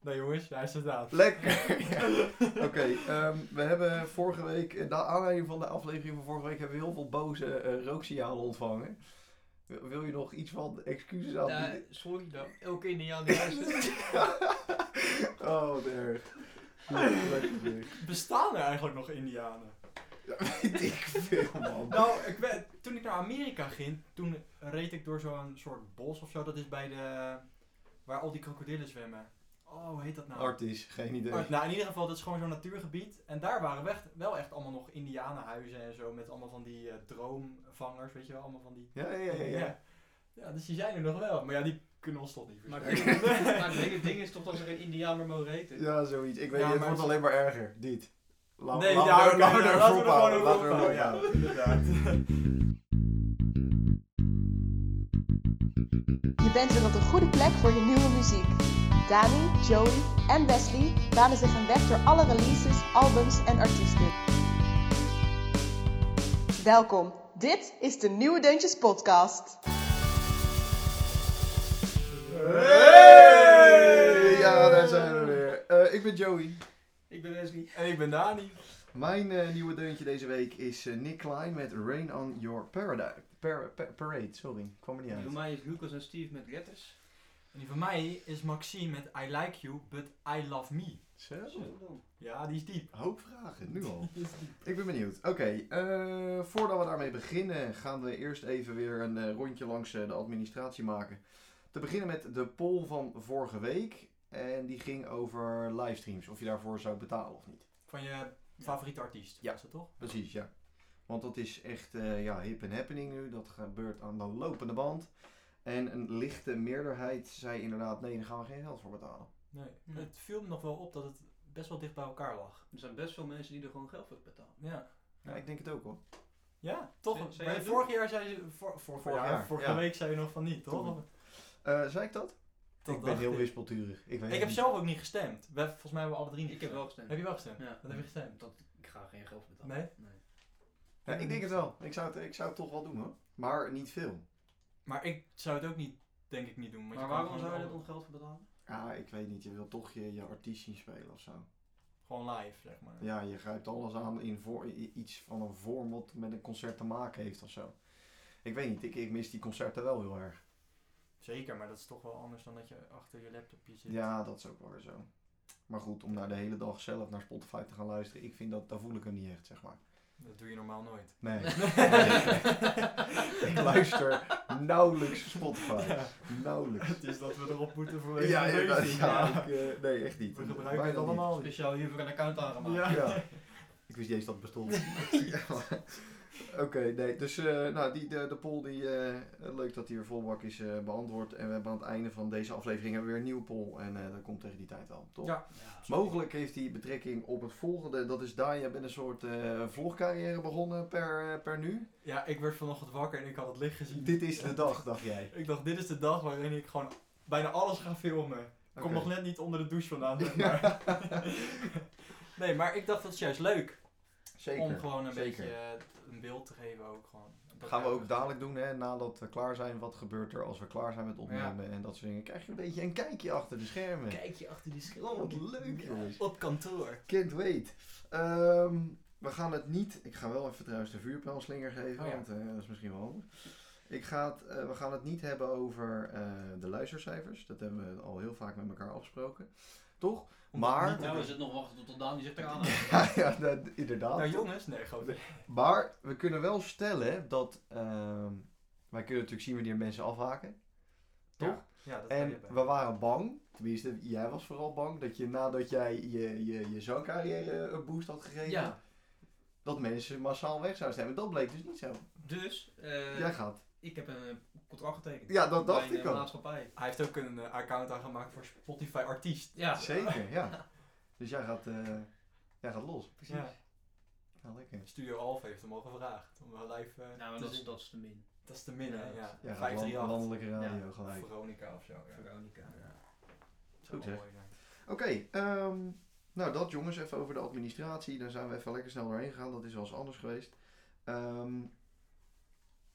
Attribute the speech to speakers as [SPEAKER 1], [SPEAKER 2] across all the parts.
[SPEAKER 1] Nou jongens, hij zit aan.
[SPEAKER 2] Lekker! Ja. Oké, ehm, we hebben vorige week, eh, naar aanleiding van de aflevering van vorige week, hebben we heel veel boze eh, rooksignalen ontvangen. Wil, wil je nog iets van excuses aan?
[SPEAKER 1] Nee, sorry dan. Elke Indiaan die luistert.
[SPEAKER 2] oh, wat erg. Lekker zeg.
[SPEAKER 1] Bestaan er eigenlijk nog Indianen?
[SPEAKER 2] Ja, weet ik veel, man.
[SPEAKER 1] Nou, ik ben, toen ik naar Amerika ging, toen reed ik door zo'n soort bos of zo. Dat is bij de... Waar al die krokodillen zwemmen. Oh, hoe heet dat nou?
[SPEAKER 2] Artis, geen idee.
[SPEAKER 1] Art- nou, in ieder geval, dat is gewoon zo'n natuurgebied. En daar waren we echt, wel echt allemaal nog indianenhuizen en zo. Met allemaal van die eh, droomvangers, weet je wel. Allemaal van die...
[SPEAKER 2] Ja, ja, ja. ja.
[SPEAKER 1] Ja, dus die zijn er nog wel. Maar ja, die kunnen ons toch niet
[SPEAKER 3] Maar
[SPEAKER 1] verstaan.
[SPEAKER 3] het hele- maar het hele ding is toch dat er geen Indiaan meer mogen eten.
[SPEAKER 2] Ja, zoiets. Ik weet
[SPEAKER 1] Ja,
[SPEAKER 2] niet, het
[SPEAKER 1] maar-
[SPEAKER 2] wordt alleen maar erger. Dit. La-
[SPEAKER 1] Nee,
[SPEAKER 2] la-
[SPEAKER 1] ja,
[SPEAKER 2] la-
[SPEAKER 1] oké, ja,
[SPEAKER 2] laten
[SPEAKER 1] laten
[SPEAKER 2] we
[SPEAKER 1] we
[SPEAKER 2] erop
[SPEAKER 1] er gewoon
[SPEAKER 2] houden,
[SPEAKER 1] op
[SPEAKER 2] laten we erop
[SPEAKER 1] ophouden, ja,
[SPEAKER 2] houden.
[SPEAKER 1] inderdaad.
[SPEAKER 4] Je bent weer op een goede plek voor je nieuwe muziek. Dani, Joey en Wesley banen zich een weg door alle releases, albums en artiesten. Welkom, dit is de Nieuwe Deuntjes Podcast.
[SPEAKER 2] Hey! Ja, daar zijn we weer. Eh, ik ben Joey.
[SPEAKER 3] Ik ben Wesley.
[SPEAKER 1] En ik ben Dani.
[SPEAKER 2] Mijn eh, nieuwe deuntje deze week is eh, Nick Klein met Rain on Your Paradise. Par- pa- parade, sorry. Ik kwam er niet
[SPEAKER 3] Die Voor
[SPEAKER 2] uit.
[SPEAKER 3] mij is Lucas en Steve met letters.
[SPEAKER 1] En die van mij is Maxime met I like you, but I love me.
[SPEAKER 2] Zo.
[SPEAKER 3] Zo dan.
[SPEAKER 1] Ja, die is diep.
[SPEAKER 2] Hoop vragen, nu al.
[SPEAKER 1] Die is diep.
[SPEAKER 2] Ik ben benieuwd. Oké, eh, voordat we daarmee beginnen, gaan we eerst even weer een eh, rondje langs eh, de administratie maken. Te beginnen met de poll van vorige week. En die ging over livestreams, of je daarvoor zou betalen of niet.
[SPEAKER 1] Van je favoriete artiest.
[SPEAKER 2] Ja.
[SPEAKER 1] Is dat toch?
[SPEAKER 2] Precies, ja. Want dat is echt eh, ja, hip en happening nu. Dat gebeurt aan de lopende band. En een lichte meerderheid zei inderdaad, nee, daar gaan we geen geld voor betalen.
[SPEAKER 1] Nee.
[SPEAKER 3] Hm.
[SPEAKER 1] Het viel me nog wel op dat het best wel dicht bij elkaar lag.
[SPEAKER 3] Er zijn best veel mensen die er gewoon geld voor betalen.
[SPEAKER 1] Ja.
[SPEAKER 2] Ja, ik denk het ook hoor.
[SPEAKER 1] Ja, toch?
[SPEAKER 3] Zou- zou
[SPEAKER 1] Maar
[SPEAKER 3] jij
[SPEAKER 1] vorig jaar zei je... Vor, vorig
[SPEAKER 2] Vorig
[SPEAKER 1] jaar,
[SPEAKER 2] jaar,
[SPEAKER 1] vorige
[SPEAKER 2] ja.
[SPEAKER 1] week zei je nog van niet, toch?
[SPEAKER 2] Toen- Eh, zei ik dat?
[SPEAKER 1] Dat
[SPEAKER 2] ik ben
[SPEAKER 1] dacht
[SPEAKER 2] heel
[SPEAKER 1] ik.
[SPEAKER 2] wispelturig. Ik, weet
[SPEAKER 1] Ik
[SPEAKER 2] het
[SPEAKER 1] heb
[SPEAKER 2] niet.
[SPEAKER 1] zelf ook niet gestemd. We, volgens mij hebben we alle drie niet
[SPEAKER 3] Ik heb wel gestemd.
[SPEAKER 1] Heb je wel gestemd?
[SPEAKER 3] Ja.
[SPEAKER 1] Wat heb je gestemd?
[SPEAKER 3] Dat, ik ga geen geld voor betalen.
[SPEAKER 1] Nee?
[SPEAKER 2] Ja, ik denk het wel. Ik zou het, ik zou het toch wel doen hoor. Maar niet veel.
[SPEAKER 1] Maar ik zou het ook niet, denk ik, niet doen. want
[SPEAKER 3] Maar
[SPEAKER 1] je kan
[SPEAKER 3] waarom
[SPEAKER 1] gewoon
[SPEAKER 3] zou je er
[SPEAKER 1] al-
[SPEAKER 3] dan geld voor betalen?
[SPEAKER 2] Ja, ik weet niet. Je wil toch je, je artiest zien spelen of zo.
[SPEAKER 1] Gewoon live, zeg maar.
[SPEAKER 2] Ja, je grijpt alles aan in voor, i- iets van een vorm wat met een concert te maken heeft of zo. Ik weet niet. Ik, ik mis die concerten wel heel erg.
[SPEAKER 1] Zeker, maar dat is toch wel anders dan dat je achter je laptopje zit.
[SPEAKER 2] Ja, dat is ook wel weer zo. Maar goed, om daar de hele dag zelf naar Spotify te gaan luisteren, ik vind dat, daar voel ik hem niet echt, zeg maar.
[SPEAKER 1] Dat doe je normaal nooit.
[SPEAKER 2] Nee. ik luister nauwelijks Spotify. Nauwelijks.
[SPEAKER 1] Het is dat we erop moeten vanwege
[SPEAKER 2] Ja,
[SPEAKER 1] de
[SPEAKER 2] ja,
[SPEAKER 1] lezing.
[SPEAKER 2] ja, ik, eh, nee, echt niet.
[SPEAKER 1] We gebruiken
[SPEAKER 2] Bijna
[SPEAKER 1] het
[SPEAKER 2] niet.
[SPEAKER 1] allemaal niet.
[SPEAKER 3] Speciaal hiervoor een account aangemaakt.
[SPEAKER 1] Ja.
[SPEAKER 2] Ja. Ik wist niet eens dat het bestond. Ja, maar- Oké, nee. Dus eh, nou, die, de, de poll, die, eh, leuk dat die weer volbak is eh, beantwoord. En we hebben aan het einde van deze aflevering hebben we weer een nieuwe poll. En eh dat komt tegen die tijd wel, toch?
[SPEAKER 1] Ja.
[SPEAKER 2] Mogelijk heeft die betrekking op het volgende. Dat is daar, jij bent een soort eh, vlogcarrière begonnen per, eh, per nu.
[SPEAKER 1] Ja, ik werd vanochtend wakker en ik had het licht gezien.
[SPEAKER 2] Dit is de dag, dacht jij.
[SPEAKER 1] Ik dacht, dit is de dag waarin ik gewoon bijna alles ga filmen. Ik kom
[SPEAKER 2] Oké.
[SPEAKER 1] nog net niet onder de douche vandaan, zeg maar. nee, maar ik dacht, dat is juist leuk. om
[SPEAKER 2] Zeker.
[SPEAKER 1] gewoon een
[SPEAKER 2] zeker.
[SPEAKER 1] beetje eh, een beeld te geven ook. Gewoon. Dat
[SPEAKER 2] Gaan we
[SPEAKER 1] ja,
[SPEAKER 2] ook dadelijk doen, hè, nadat we klaar zijn. Wat gebeurt er als we klaar zijn met opnemen en dat soort dingen. Krijg je een beetje een kijkje achter de schermen.
[SPEAKER 3] Kijk je achter die
[SPEAKER 2] Oh, wat leuk, jongens.
[SPEAKER 1] Op kantoor.
[SPEAKER 2] Can't wait. Ehm, we gaan het niet. Ik ga wel even trouwens de vuurpijlslinger geven,
[SPEAKER 1] Oh ja.
[SPEAKER 2] want eh, dat is misschien wel handig. Ik ga het, eh, we gaan het niet hebben over eh, de luistercijfers. Dat hebben we al heel vaak met elkaar afgesproken. Toch? Maar-
[SPEAKER 1] Niet te
[SPEAKER 3] Nou
[SPEAKER 1] doen.
[SPEAKER 3] is het nog wachten tot Daan die zich eraan houdt.
[SPEAKER 2] ja, ja, dat- inderdaad.
[SPEAKER 1] Nou jongens, nee, gewoon.
[SPEAKER 2] Maar we kunnen wel stellen dat. ehm, wij kunnen natuurlijk zien wanneer mensen afhaken. Toch?
[SPEAKER 1] Ja, ja, dat kan je
[SPEAKER 2] En
[SPEAKER 1] bij.
[SPEAKER 2] we waren bang, tenminste, jij was vooral bang, dat je nadat jij je, je, je zangcarrière een boost had gegeven,
[SPEAKER 3] Ja,
[SPEAKER 2] dat mensen massaal weg zouden stemmen. Dat bleek dus niet zo.
[SPEAKER 3] dus eh,
[SPEAKER 2] jij gaat.
[SPEAKER 3] ik heb een eh, contract getekend.
[SPEAKER 2] Ja, dat
[SPEAKER 3] Bij
[SPEAKER 2] dacht
[SPEAKER 3] een,
[SPEAKER 2] ik
[SPEAKER 3] eh,
[SPEAKER 2] al.
[SPEAKER 3] maatschappij.
[SPEAKER 1] Hij heeft ook een eh, account aangemaakt voor Spotify Artiest.
[SPEAKER 3] Ja,
[SPEAKER 2] Zeker, ja. Dus jij gaat, eh, jij gaat los.
[SPEAKER 3] precies.
[SPEAKER 1] Ja.
[SPEAKER 2] Ja, lekker.
[SPEAKER 1] Studio Alf heeft hem al gevraagd om wel live eh,
[SPEAKER 3] Nou, maar
[SPEAKER 1] te
[SPEAKER 3] dat is,
[SPEAKER 1] zien.
[SPEAKER 3] dat is de min.
[SPEAKER 1] Dat is te min, hè? Ja,
[SPEAKER 2] Jij gaat land-
[SPEAKER 1] 538.
[SPEAKER 2] landelijke radio gelijk.
[SPEAKER 1] Veronica of zo. Ja.
[SPEAKER 3] Veronica.
[SPEAKER 1] Dat
[SPEAKER 2] Goed,
[SPEAKER 1] zou
[SPEAKER 2] zeg.
[SPEAKER 1] wel mooi zijn.
[SPEAKER 2] Oké, ehm, nou dat jongens, even over de administratie. Daar zijn we even lekker snel doorheen gegaan. Dat is wel eens anders geweest. Ehm,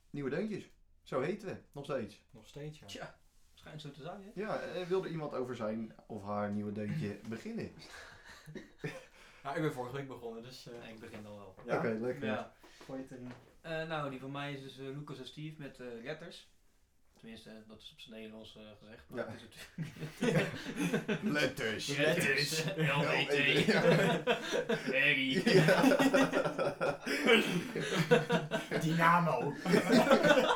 [SPEAKER 2] nieuwe deuntjes. Zo heten we, nog steeds.
[SPEAKER 1] Nog steeds, ja.
[SPEAKER 3] Tja. Schijnt zo te zijn, hè?
[SPEAKER 2] Ja, eh, wil er iemand over zijn of haar nieuwe deuntje beginnen?
[SPEAKER 1] Nou, ik ben vorige week begonnen, dus... eh,
[SPEAKER 3] Nee, ik begin dan wel.
[SPEAKER 1] ja,
[SPEAKER 2] Oké, lekker.
[SPEAKER 3] Ja.
[SPEAKER 1] gooi het erin.
[SPEAKER 3] Eh, nou, die van mij is dus eh, Lucas en Steve met eh, letters. Tenminste, eh, dat is op zijn Nederlands eh, gezegd.
[SPEAKER 2] Ja.
[SPEAKER 3] Maar het is natuurlijk...
[SPEAKER 2] Letters.
[SPEAKER 3] Letters. LET.
[SPEAKER 2] Ja.
[SPEAKER 3] E Harry.
[SPEAKER 1] Dynamo!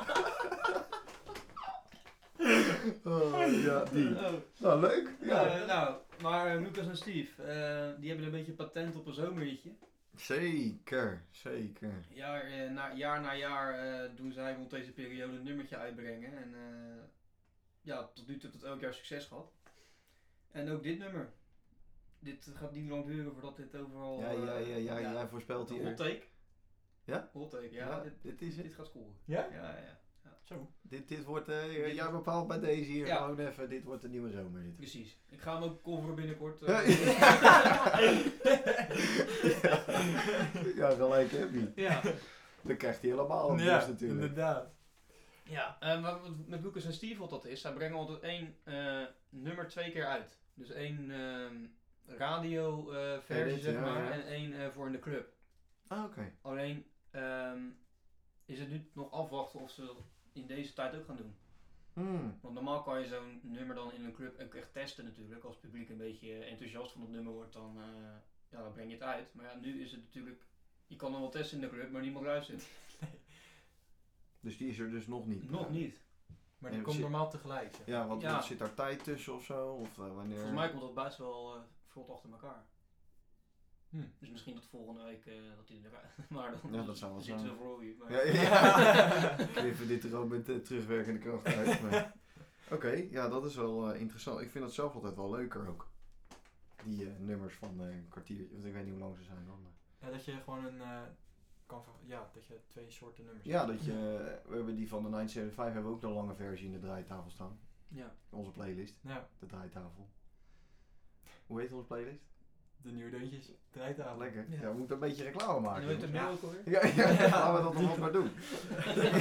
[SPEAKER 2] Oh, ja, die.
[SPEAKER 3] Oh.
[SPEAKER 2] Nou, leuk. Ja.
[SPEAKER 3] Eh, nou, maar eh, Lucas en Steve, eh, die hebben een beetje patent op een zomerliedje.
[SPEAKER 2] Zeker, zeker.
[SPEAKER 3] Jaar, eh, na, jaar na jaar eh, doen zij rond deze periode een nummertje uitbrengen. En eh, ja, tot nu toe heeft het elk jaar succes gehad. En ook dit nummer. Dit gaat niet lang duren voordat dit overal...
[SPEAKER 2] Ja, ja,
[SPEAKER 3] eh,
[SPEAKER 2] ja, ja, jij voorspelt
[SPEAKER 3] een
[SPEAKER 2] hier.
[SPEAKER 3] Hot take.
[SPEAKER 2] Ja?
[SPEAKER 3] Hot take, ja.
[SPEAKER 2] Ja,
[SPEAKER 3] dit,
[SPEAKER 2] dit is het.
[SPEAKER 3] dit gaat scoren.
[SPEAKER 1] Ja?
[SPEAKER 3] Ja, ja, ja.
[SPEAKER 1] Zo.
[SPEAKER 2] Dit, dit wordt, eh,
[SPEAKER 3] Dit-
[SPEAKER 2] jij bepaalt bij deze hier
[SPEAKER 3] Ja.
[SPEAKER 2] gewoon even, dit wordt de nieuwe zomer. Dit.
[SPEAKER 3] Precies. Ik ga hem ook coveren binnenkort.
[SPEAKER 2] Ja.
[SPEAKER 3] eh.
[SPEAKER 2] Ja, gelijk heb je.
[SPEAKER 3] ja.
[SPEAKER 2] Dan krijgt hij helemaal een
[SPEAKER 1] ja,
[SPEAKER 2] boost natuurlijk.
[SPEAKER 1] inderdaad.
[SPEAKER 3] Ja, en wat wat met Lucas en Steve wat dat is, zij brengen altijd één eh, nummer twee keer uit. Dus één ehm, radio eh, versie,
[SPEAKER 2] Edit,
[SPEAKER 3] zeg
[SPEAKER 2] ja,
[SPEAKER 3] maar,
[SPEAKER 2] ja.
[SPEAKER 3] en één eh, voor in de club.
[SPEAKER 2] Ah, oké.
[SPEAKER 3] Alleen ehm, is het nu nog afwachten of ze dat in deze tijd ook gaan doen.
[SPEAKER 2] Hmm.
[SPEAKER 3] Want normaal kan je zo'n nummer dan in een club ook echt testen natuurlijk. Als het publiek een beetje enthousiast van het nummer wordt, dan, eh, ja, dan breng je het uit. Maar ja, nu is het natuurlijk, je kan dan wel testen in de club, maar niemand luistert.
[SPEAKER 2] Dus die is er dus nog niet.
[SPEAKER 3] Nog niet.
[SPEAKER 1] Maar
[SPEAKER 2] Ja,
[SPEAKER 1] die komt
[SPEAKER 2] precies.
[SPEAKER 1] normaal tegelijk. zeg.
[SPEAKER 2] Ja, want
[SPEAKER 3] Ja.
[SPEAKER 2] want zit daar tijd tussen of zo? Of eh, wanneer?
[SPEAKER 3] Volgens mij komt dat best wel eh vlot achter elkaar.
[SPEAKER 1] Hm.
[SPEAKER 3] Dus misschien dat volgende week eh, dat die eruit. Maar dan
[SPEAKER 2] Ja, dat zou wel
[SPEAKER 3] zit ze
[SPEAKER 2] zijn.
[SPEAKER 3] voor wie, maar-
[SPEAKER 2] Ja, ja. Knippen dit er ook met eh, terugwerkende kracht uit. maar- Oké, ja, dat is wel eh, interessant. Ik vind dat zelf altijd wel leuker ook. Die eh, nummers van eh, een kwartiertje, want ik weet niet hoe lang ze zijn dan.
[SPEAKER 1] Ja,
[SPEAKER 2] maar-
[SPEAKER 1] dat je gewoon een... eh, kan ver- ja, dat je twee soorten nummers
[SPEAKER 2] Ja, dat je, eh, we hebben die van de 975 hebben we ook de lange versie in de draaitafel staan.
[SPEAKER 3] Ja.
[SPEAKER 2] In onze playlist,
[SPEAKER 1] hebt. Ja,
[SPEAKER 2] de draaitafel. Hoe heet onze playlist? Ah,
[SPEAKER 1] de nieuwe deuntjes draait aan.
[SPEAKER 2] Lekker. Ja.
[SPEAKER 3] Ja.
[SPEAKER 2] we moeten een beetje reclame
[SPEAKER 3] En
[SPEAKER 2] maken.
[SPEAKER 3] hoe heet het
[SPEAKER 1] Ja.
[SPEAKER 2] jongens.
[SPEAKER 3] nu ook alweer?
[SPEAKER 2] Ja, ja, laten we dat nog wat maar doen.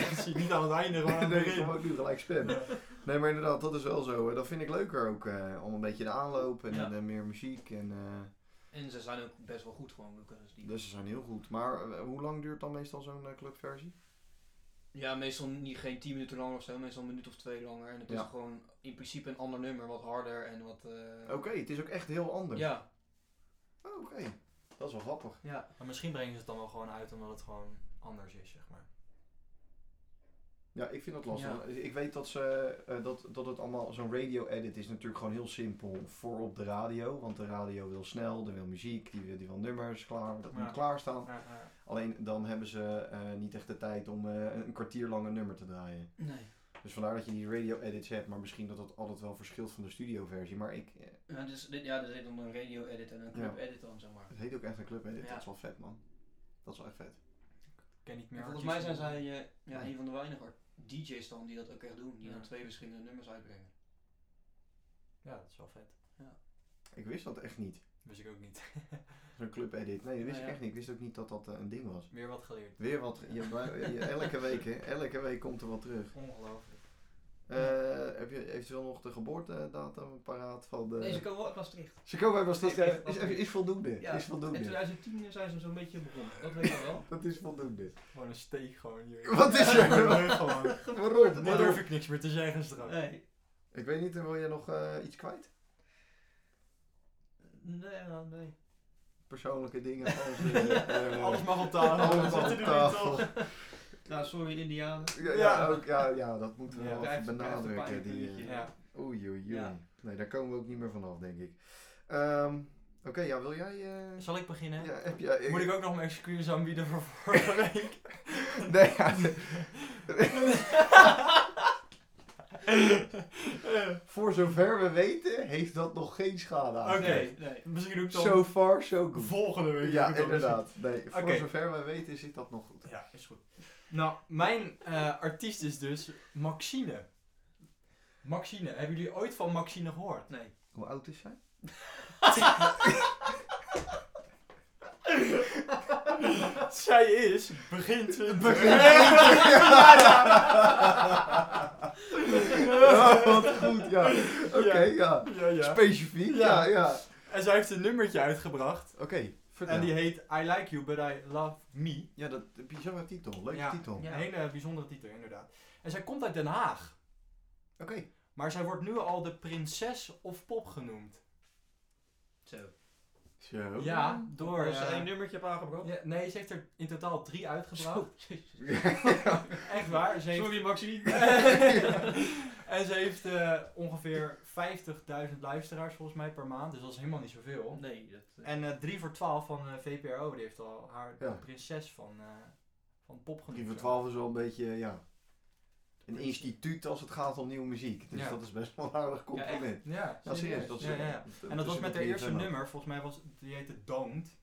[SPEAKER 1] Dat zie je niet aan het einde, maar aan het
[SPEAKER 2] Nee, ik
[SPEAKER 1] begin.
[SPEAKER 2] kom ook nu gelijk spammen. Nee, maar inderdaad, dat is wel zo. hè. Dat vind ik leuker ook. eh, om een beetje de aanloop en,
[SPEAKER 3] Ja.
[SPEAKER 2] eh, meer muziek. En, eh,
[SPEAKER 3] En ze zijn ook best wel goed gewoon, Lucas. en Steve.
[SPEAKER 2] dus ze zijn heel goed. Maar eh, hoe lang duurt dan meestal zo'n eh, clubversie?
[SPEAKER 3] Ja, meestal niet geen 10 minuten langer of zo, meestal een minuut of twee langer. En het
[SPEAKER 2] Ja.
[SPEAKER 3] is gewoon in principe een ander nummer, wat harder en wat. eh,
[SPEAKER 2] Oké, het is ook echt heel anders.
[SPEAKER 3] Ja,
[SPEAKER 2] Oh, Oké, dat is wel grappig.
[SPEAKER 3] ja.
[SPEAKER 1] Maar misschien brengen ze het dan wel gewoon uit omdat het gewoon anders is, zeg maar.
[SPEAKER 2] Ja, ik vind dat lastig.
[SPEAKER 3] Ja.
[SPEAKER 2] Ik weet dat, ze, eh, dat, dat het allemaal... Zo'n radio-edit is natuurlijk gewoon heel simpel voor op de radio. Want de radio wil snel, die wil muziek, die wil, die wil nummers klaar. Dat
[SPEAKER 1] Ja.
[SPEAKER 2] moet klaarstaan.
[SPEAKER 1] Ja, ja.
[SPEAKER 2] Alleen dan hebben ze eh, niet echt de tijd om eh, een kwartier lang een nummer te draaien.
[SPEAKER 3] Nee.
[SPEAKER 2] Dus vandaar dat je die radio edits hebt, maar misschien dat dat altijd wel verschilt van de studioversie. Maar ik, eh,
[SPEAKER 3] Ja, dus, dit, ja, er zit dan een radio-edit en een
[SPEAKER 2] Ja.
[SPEAKER 3] club-edit dan, zeg maar.
[SPEAKER 2] het heet ook echt een club edit.
[SPEAKER 3] Ja.
[SPEAKER 2] Dat is wel vet, man. Dat is wel echt vet.
[SPEAKER 1] Ik ken niet meer
[SPEAKER 3] En volgens mij zijn
[SPEAKER 1] artiesten.
[SPEAKER 3] zij eh, ja,
[SPEAKER 2] Nee.
[SPEAKER 3] een van de weinige art- DJ's dan die dat ook echt doen, die
[SPEAKER 1] Ja.
[SPEAKER 3] dan twee verschillende nummers uitbrengen.
[SPEAKER 1] Ja, dat is wel vet.
[SPEAKER 2] Ik wist dat echt niet.
[SPEAKER 1] Wist ik ook niet.
[SPEAKER 2] Zo'n club edit. Nee, dat wist
[SPEAKER 3] Nou ja.
[SPEAKER 2] ik echt niet. Ik wist ook niet dat dat eh, een ding was.
[SPEAKER 1] Weer wat geleerd.
[SPEAKER 2] Weer wat. Je, je- je- elke, week, hè, elke week komt er wat terug.
[SPEAKER 1] Ongelooflijk.
[SPEAKER 2] Eh, heb je eventueel nog de geboortedatum paraat van de.
[SPEAKER 3] Nee, ze komen wel uit Maastricht.
[SPEAKER 2] Ze komen was dat
[SPEAKER 3] Nee,
[SPEAKER 2] is,
[SPEAKER 3] was-
[SPEAKER 2] is voldoende.
[SPEAKER 3] Ja.
[SPEAKER 2] Is
[SPEAKER 3] In
[SPEAKER 2] voldoende.
[SPEAKER 3] 2010 zijn ze zo'n beetje begonnen, dat weet ik wel.
[SPEAKER 2] Dat is voldoende.
[SPEAKER 1] Gewoon een steek gewoon hier.
[SPEAKER 2] Wat is er?
[SPEAKER 1] Leuk gewoon.
[SPEAKER 2] Waarom?
[SPEAKER 1] Nu durf
[SPEAKER 2] Waarom?
[SPEAKER 1] ik niks meer te zeggen straks.
[SPEAKER 3] Nee,
[SPEAKER 2] Ik weet niet, wil jij nog eh, iets kwijt?
[SPEAKER 3] nee, nou, nee.
[SPEAKER 2] Persoonlijke dingen. Alles, eh, eh,
[SPEAKER 1] Alles mag op tafel.
[SPEAKER 2] Alles
[SPEAKER 1] We
[SPEAKER 2] op
[SPEAKER 1] zitten er
[SPEAKER 2] tafel.
[SPEAKER 1] niet op.
[SPEAKER 3] Nou, sorry Indianen.
[SPEAKER 2] Ja, ja,
[SPEAKER 1] Ja.
[SPEAKER 2] ook, ja, ja, dat moeten we
[SPEAKER 1] Ja,
[SPEAKER 2] wel
[SPEAKER 3] blijft-
[SPEAKER 2] even benadrukken.
[SPEAKER 3] blijft een
[SPEAKER 2] Die,
[SPEAKER 3] pijnlijk
[SPEAKER 2] eh,
[SPEAKER 1] Ja.
[SPEAKER 2] oei, oei, oei.
[SPEAKER 3] Ja.
[SPEAKER 2] Nee, daar komen we ook niet meer vanaf, denk ik. Ehm, Oké, ja, wil jij... eh,
[SPEAKER 1] Zal ik beginnen?
[SPEAKER 2] ja, heb jij...
[SPEAKER 1] Moet ik ook nog mijn excuses aanbieden voor vorige week?
[SPEAKER 2] Nee, ja, voor zover we weten, heeft dat nog geen schade aan.
[SPEAKER 1] Oké.
[SPEAKER 3] Nee, nee.
[SPEAKER 1] Misschien doe ik dan
[SPEAKER 2] So far, so good.
[SPEAKER 1] volgende week.
[SPEAKER 2] Ja,
[SPEAKER 1] doe ik dan
[SPEAKER 2] inderdaad. Nee, voor
[SPEAKER 1] Oké.
[SPEAKER 2] zover we weten zit dat nog goed.
[SPEAKER 1] misschien. Ja, is goed. Nou, mijn eh, artiest is dus Maxine. Maxine. Hebben jullie ooit van Maxine gehoord?
[SPEAKER 3] Nee.
[SPEAKER 2] Hoe oud is zij?
[SPEAKER 1] Zij is begin 20.
[SPEAKER 2] Begin
[SPEAKER 1] Ja.
[SPEAKER 2] Ja, wat goed, ja. Oké, ja.
[SPEAKER 1] Ja, ja.
[SPEAKER 2] Specifiek, ja,
[SPEAKER 1] Ja.
[SPEAKER 2] ja.
[SPEAKER 1] En zij heeft een nummertje uitgebracht.
[SPEAKER 2] Oké, vertel.
[SPEAKER 1] En die heet I Like You But I Love Me.
[SPEAKER 2] Ja, dat bizarre titel. Leuke
[SPEAKER 1] Ja.
[SPEAKER 2] titel.
[SPEAKER 3] Ja.
[SPEAKER 1] Een hele bijzondere titel, inderdaad. En zij komt uit Den Haag.
[SPEAKER 2] Oké.
[SPEAKER 1] Maar zij wordt nu al de prinses of pop genoemd.
[SPEAKER 3] Zo.
[SPEAKER 2] Zo.
[SPEAKER 1] Ja, door...
[SPEAKER 3] Als ze
[SPEAKER 1] eh,
[SPEAKER 3] één nummertje op aangebracht.
[SPEAKER 1] ja, nee, ze heeft er in totaal drie uitgebracht.
[SPEAKER 3] Zo, jezus.
[SPEAKER 1] Echt waar. Ze heeft...
[SPEAKER 3] Sorry Maxine.
[SPEAKER 1] en ze heeft eh, ongeveer 50.000 luisteraars volgens mij per maand. Dus dat is helemaal niet zoveel.
[SPEAKER 3] Nee, dat...
[SPEAKER 1] En eh 3 voor 12 van eh, VPRO, die heeft al haar
[SPEAKER 2] Ja.
[SPEAKER 1] de prinses van, eh, van pop genoemd.
[SPEAKER 2] 3 voor 12 is wel een beetje, ja, een instituut als het gaat om nieuwe muziek. Dus
[SPEAKER 1] Ja.
[SPEAKER 2] dat is best wel een aardig compliment.
[SPEAKER 1] Ja.
[SPEAKER 2] Ja, serieus. Dat is,
[SPEAKER 1] Ja, ja, ja. En dat was
[SPEAKER 2] is
[SPEAKER 1] met
[SPEAKER 2] een
[SPEAKER 1] haar eerste
[SPEAKER 2] BFM ook.
[SPEAKER 1] nummer, volgens mij was die heette Don't.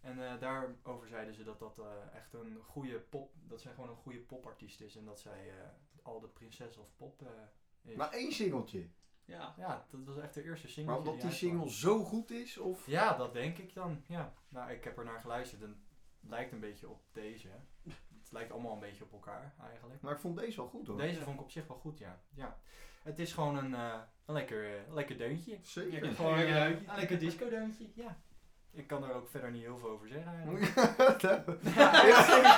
[SPEAKER 1] En eh, daarover zeiden ze dat dat eh, echt een goede pop, dat zij gewoon een goede popartiest is en dat zij eh, al de prinses of pop eh, is.
[SPEAKER 2] Maar één singeltje.
[SPEAKER 3] Ja.
[SPEAKER 1] ja, dat was echt de eerste single.
[SPEAKER 2] Maar omdat die single zo goed is, of...
[SPEAKER 1] Ja, dat denk ik dan. Ja. Nou, ik heb er naar geluisterd en het lijkt een beetje op deze. Het lijkt allemaal een beetje op elkaar eigenlijk.
[SPEAKER 2] Maar ik vond deze wel goed hoor.
[SPEAKER 1] Deze vond ik op zich wel goed, ja. ja. Het is gewoon een, eh, een lekker, eh, lekker deuntje.
[SPEAKER 2] Zeker.
[SPEAKER 3] Ja,
[SPEAKER 1] Gewoon, eh,
[SPEAKER 3] lekker deuntje.
[SPEAKER 1] een lekker disco deuntje, ja. Ik kan er ook verder niet heel veel over zeggen eigenlijk.
[SPEAKER 2] Ja.
[SPEAKER 1] ja, ja,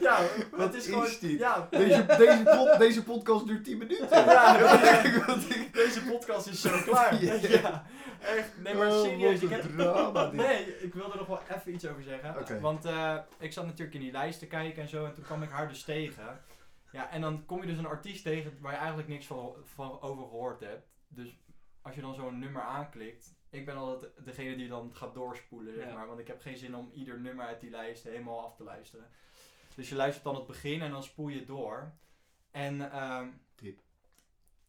[SPEAKER 1] ja,
[SPEAKER 2] Wat
[SPEAKER 1] het is
[SPEAKER 2] is
[SPEAKER 1] gewoon...
[SPEAKER 2] dit?
[SPEAKER 1] Ja,
[SPEAKER 2] Deze, deze, pod- deze podcast duurt 10 minuten.
[SPEAKER 1] Ja.
[SPEAKER 2] Wat ik-
[SPEAKER 1] deze podcast is zo klaar.
[SPEAKER 2] Ja.
[SPEAKER 1] Ja, echt. Nee, maar
[SPEAKER 2] Oh,
[SPEAKER 1] serieus. Ik
[SPEAKER 2] Wat
[SPEAKER 1] heb,
[SPEAKER 2] een drama dit.
[SPEAKER 1] Nee, ik wilde er nog wel even iets over zeggen.
[SPEAKER 2] Oké.
[SPEAKER 1] Want eh, ik zat natuurlijk in die lijst te kijken en zo. En toen kwam ik haar dus tegen. Ja, en dan kom je dus een artiest tegen waar je eigenlijk niks van, van over gehoord hebt. Dus als je dan zo'n nummer aanklikt. Ik ben altijd degene die dan gaat doorspoelen, zeg
[SPEAKER 3] Ja.
[SPEAKER 1] maar. Want ik heb geen zin om ieder nummer uit die lijst helemaal af te luisteren. Dus je luistert dan het begin en dan spoel je door. En ehm
[SPEAKER 2] Tip.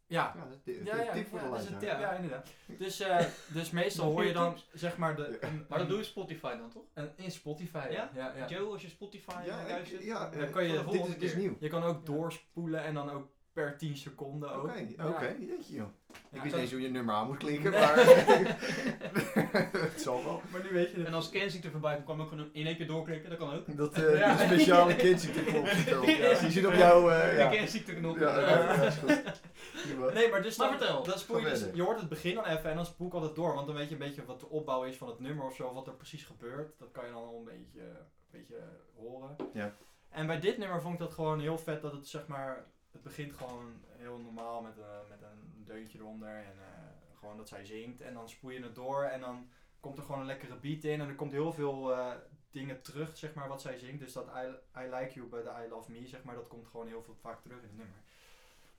[SPEAKER 1] Ja,
[SPEAKER 2] Ja, dit- dit-
[SPEAKER 1] ja, ja,
[SPEAKER 2] tip voor
[SPEAKER 1] ja,
[SPEAKER 2] de
[SPEAKER 1] dat is een
[SPEAKER 2] luisteraar.
[SPEAKER 1] tip, ja, inderdaad. Dus, eh, dus meestal hoor je dan, zeg maar, de, een-
[SPEAKER 3] Maar dat doe je Spotify dan toch?
[SPEAKER 1] een- in Spotify.
[SPEAKER 3] Ja?
[SPEAKER 1] ja, ja.
[SPEAKER 3] Joe, als je Spotify
[SPEAKER 2] Ja, ik-
[SPEAKER 3] luistert,
[SPEAKER 2] ja,
[SPEAKER 1] Dan
[SPEAKER 2] eh,
[SPEAKER 1] kan je
[SPEAKER 3] voor de
[SPEAKER 1] dit
[SPEAKER 2] Dit
[SPEAKER 3] volgende
[SPEAKER 2] is, dit is
[SPEAKER 3] keer.
[SPEAKER 2] nieuw.
[SPEAKER 1] Je kan ook doorspoelen en dan ook per 10 seconden ook.
[SPEAKER 2] Oké,
[SPEAKER 1] Oh, Ja.
[SPEAKER 2] oké, jeetje joh. Ik
[SPEAKER 1] Ja,
[SPEAKER 2] wist
[SPEAKER 1] zo-
[SPEAKER 2] niet eens hoe je nummer aan moet klinken,
[SPEAKER 1] Nee.
[SPEAKER 2] maar het zal wel.
[SPEAKER 1] Maar nu weet je
[SPEAKER 3] En
[SPEAKER 1] het.
[SPEAKER 3] als Kensington voorbij komt, kan ik ook gewoon in één keer doorklikken, dat kan ook.
[SPEAKER 2] Dat eh,
[SPEAKER 1] Ja.
[SPEAKER 2] die speciale kindziekteknop zit erop.
[SPEAKER 3] Ja.
[SPEAKER 2] Die zit op jou. eh,
[SPEAKER 3] De
[SPEAKER 2] ja.
[SPEAKER 3] Kensington knop.
[SPEAKER 2] Ja,
[SPEAKER 1] eh,
[SPEAKER 2] ja, ja, is goed. Prima.
[SPEAKER 1] Nee, maar dus
[SPEAKER 3] Maar
[SPEAKER 1] dan,
[SPEAKER 3] vertel.
[SPEAKER 1] dan spoel je
[SPEAKER 2] Ga
[SPEAKER 1] dus,
[SPEAKER 2] verder.
[SPEAKER 1] je hoort het begin dan even en dan spoel ik altijd door. Want dan weet je een beetje wat de opbouw is van het nummer of zo, wat er precies gebeurt. Dat kan je dan al een beetje, een beetje eh, horen.
[SPEAKER 2] Ja.
[SPEAKER 1] En bij dit nummer vond ik dat gewoon heel vet dat het zeg maar, het begint gewoon heel normaal met, eh, met een deuntje eronder en eh, gewoon dat zij zingt. En dan spoel je het door en dan komt er gewoon een lekkere beat in en er komt heel veel eh, dingen terug, zeg maar, wat zij zingt. Dus dat I, I like you but I love me, zeg maar, dat komt gewoon heel veel, vaak terug in het nummer.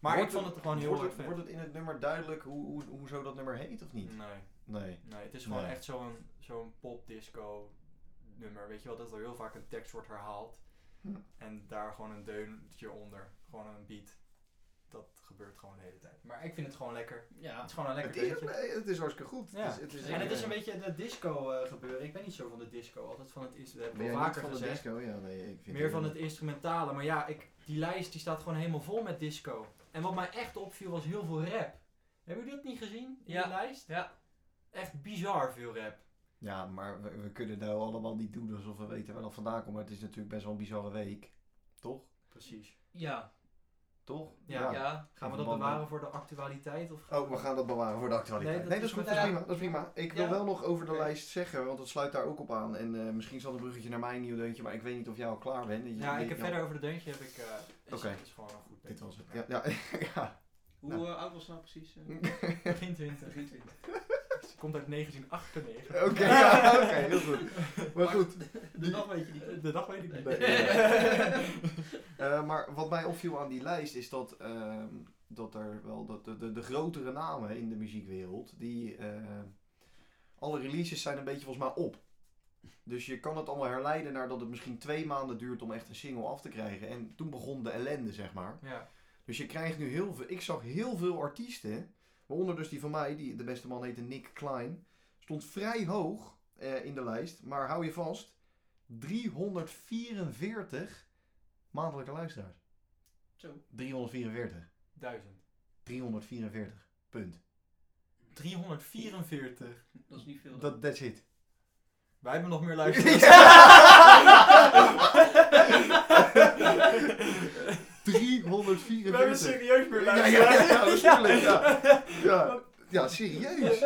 [SPEAKER 1] Maar
[SPEAKER 2] Wordt
[SPEAKER 1] ik vond het gewoon heel
[SPEAKER 2] wordt
[SPEAKER 1] erg
[SPEAKER 2] het,
[SPEAKER 1] vet.
[SPEAKER 2] wordt het in het nummer duidelijk hoe, hoe, hoezo dat nummer heet of niet?
[SPEAKER 1] Nee,
[SPEAKER 2] Nee.
[SPEAKER 1] nee, het is gewoon
[SPEAKER 2] Nee.
[SPEAKER 1] echt zo'n zo'n pop-disco nummer. Weet je wel, dat er heel vaak een tekst wordt herhaald.
[SPEAKER 2] Hm.
[SPEAKER 1] En daar gewoon een deuntje onder. Gewoon een beat. Dat gebeurt gewoon de hele tijd. Maar ik vind het gewoon lekker.
[SPEAKER 3] Ja.
[SPEAKER 1] Het is gewoon een lekker
[SPEAKER 2] Het is,
[SPEAKER 1] deuntje.
[SPEAKER 2] nee, het is hartstikke goed.
[SPEAKER 1] Ja.
[SPEAKER 2] Het is, het is,
[SPEAKER 1] en het is een beetje de disco eh, gebeuren. Ik ben niet zo van de disco. Altijd van het is. We hebben
[SPEAKER 2] Ben jij
[SPEAKER 1] al
[SPEAKER 2] niet
[SPEAKER 1] vaker
[SPEAKER 2] van de
[SPEAKER 1] gezegd.
[SPEAKER 2] disco? Ja, nee, ik vind
[SPEAKER 1] Meer van het instrumentale. Maar ja, ik, die lijst die staat gewoon helemaal vol met disco. En wat mij echt opviel was heel veel rap. Hebben jullie dat niet gezien? In
[SPEAKER 3] Ja.
[SPEAKER 1] die lijst?
[SPEAKER 3] Ja.
[SPEAKER 1] Echt bizar veel rap.
[SPEAKER 2] Ja, maar we, we kunnen nou allemaal niet doen alsof we weten waar dat vandaan komt. Maar het is natuurlijk best wel een bizarre week. Toch?
[SPEAKER 1] Precies.
[SPEAKER 3] Ja.
[SPEAKER 2] Toch?
[SPEAKER 1] Ja,
[SPEAKER 3] Ja.
[SPEAKER 1] Gaan we dat
[SPEAKER 2] In verband
[SPEAKER 1] bewaren voor de actualiteit? Of
[SPEAKER 2] Oh, we gaan dat bewaren voor de actualiteit. Nee,
[SPEAKER 1] Nee,
[SPEAKER 2] dat,
[SPEAKER 1] dat
[SPEAKER 2] is
[SPEAKER 1] is
[SPEAKER 2] goed.
[SPEAKER 1] goed.
[SPEAKER 2] Dat
[SPEAKER 1] Ja.
[SPEAKER 2] is prima. Dat is prima. Ik wil
[SPEAKER 1] Ja.
[SPEAKER 2] wel nog over de
[SPEAKER 1] Oké.
[SPEAKER 2] lijst zeggen, want dat sluit daar ook op aan. En eh, misschien zal een bruggetje naar mijn nieuw deuntje, maar ik weet niet of jij al klaar bent. Je-
[SPEAKER 1] Ja,
[SPEAKER 2] je
[SPEAKER 1] ik heb
[SPEAKER 2] kan-
[SPEAKER 1] verder over de deuntje heb ik. eh is,
[SPEAKER 2] Oké.
[SPEAKER 1] is gewoon een goed
[SPEAKER 2] Dit
[SPEAKER 1] deuntje.
[SPEAKER 2] was het. Ja, ja, ja.
[SPEAKER 3] Hoe
[SPEAKER 2] Nou.
[SPEAKER 3] eh, oud was ze nou precies? eh?
[SPEAKER 1] Begin 20.
[SPEAKER 3] Begin 20.
[SPEAKER 1] Het komt uit 1998.
[SPEAKER 2] Oké, ja, oké, heel goed. Maar
[SPEAKER 3] Maar-
[SPEAKER 2] goed,
[SPEAKER 3] De dag weet je niet.
[SPEAKER 1] Eh, De dag weet ik niet.
[SPEAKER 2] Nee, eh, maar wat mij opviel aan die lijst is dat, ehm, dat er wel dat de, de, de grotere namen in de muziekwereld, die eh, alle releases zijn een beetje volgens mij op. Dus je kan het allemaal herleiden naar dat het misschien twee maanden duurt om echt een single af te krijgen. En toen begon de ellende, zeg maar.
[SPEAKER 1] Ja,
[SPEAKER 2] Dus je krijgt nu heel veel. Ik zag heel veel artiesten. Waaronder dus die van mij, die de beste man heette Nick Klein. Stond vrij hoog eh, in de lijst. Maar hou je vast: 344 maandelijke luisteraars.
[SPEAKER 3] Zo.
[SPEAKER 2] 344.
[SPEAKER 1] 1000.
[SPEAKER 2] 344. Punt.
[SPEAKER 1] 344.
[SPEAKER 3] Dat is niet veel. dan.
[SPEAKER 2] Dat that's it.
[SPEAKER 1] Wij hebben nog meer luisteraars. We hebben
[SPEAKER 2] 344.
[SPEAKER 1] serieus meer
[SPEAKER 2] Ja, ja, ja, ja, natuurlijk, ja. Ja, ja, serieus.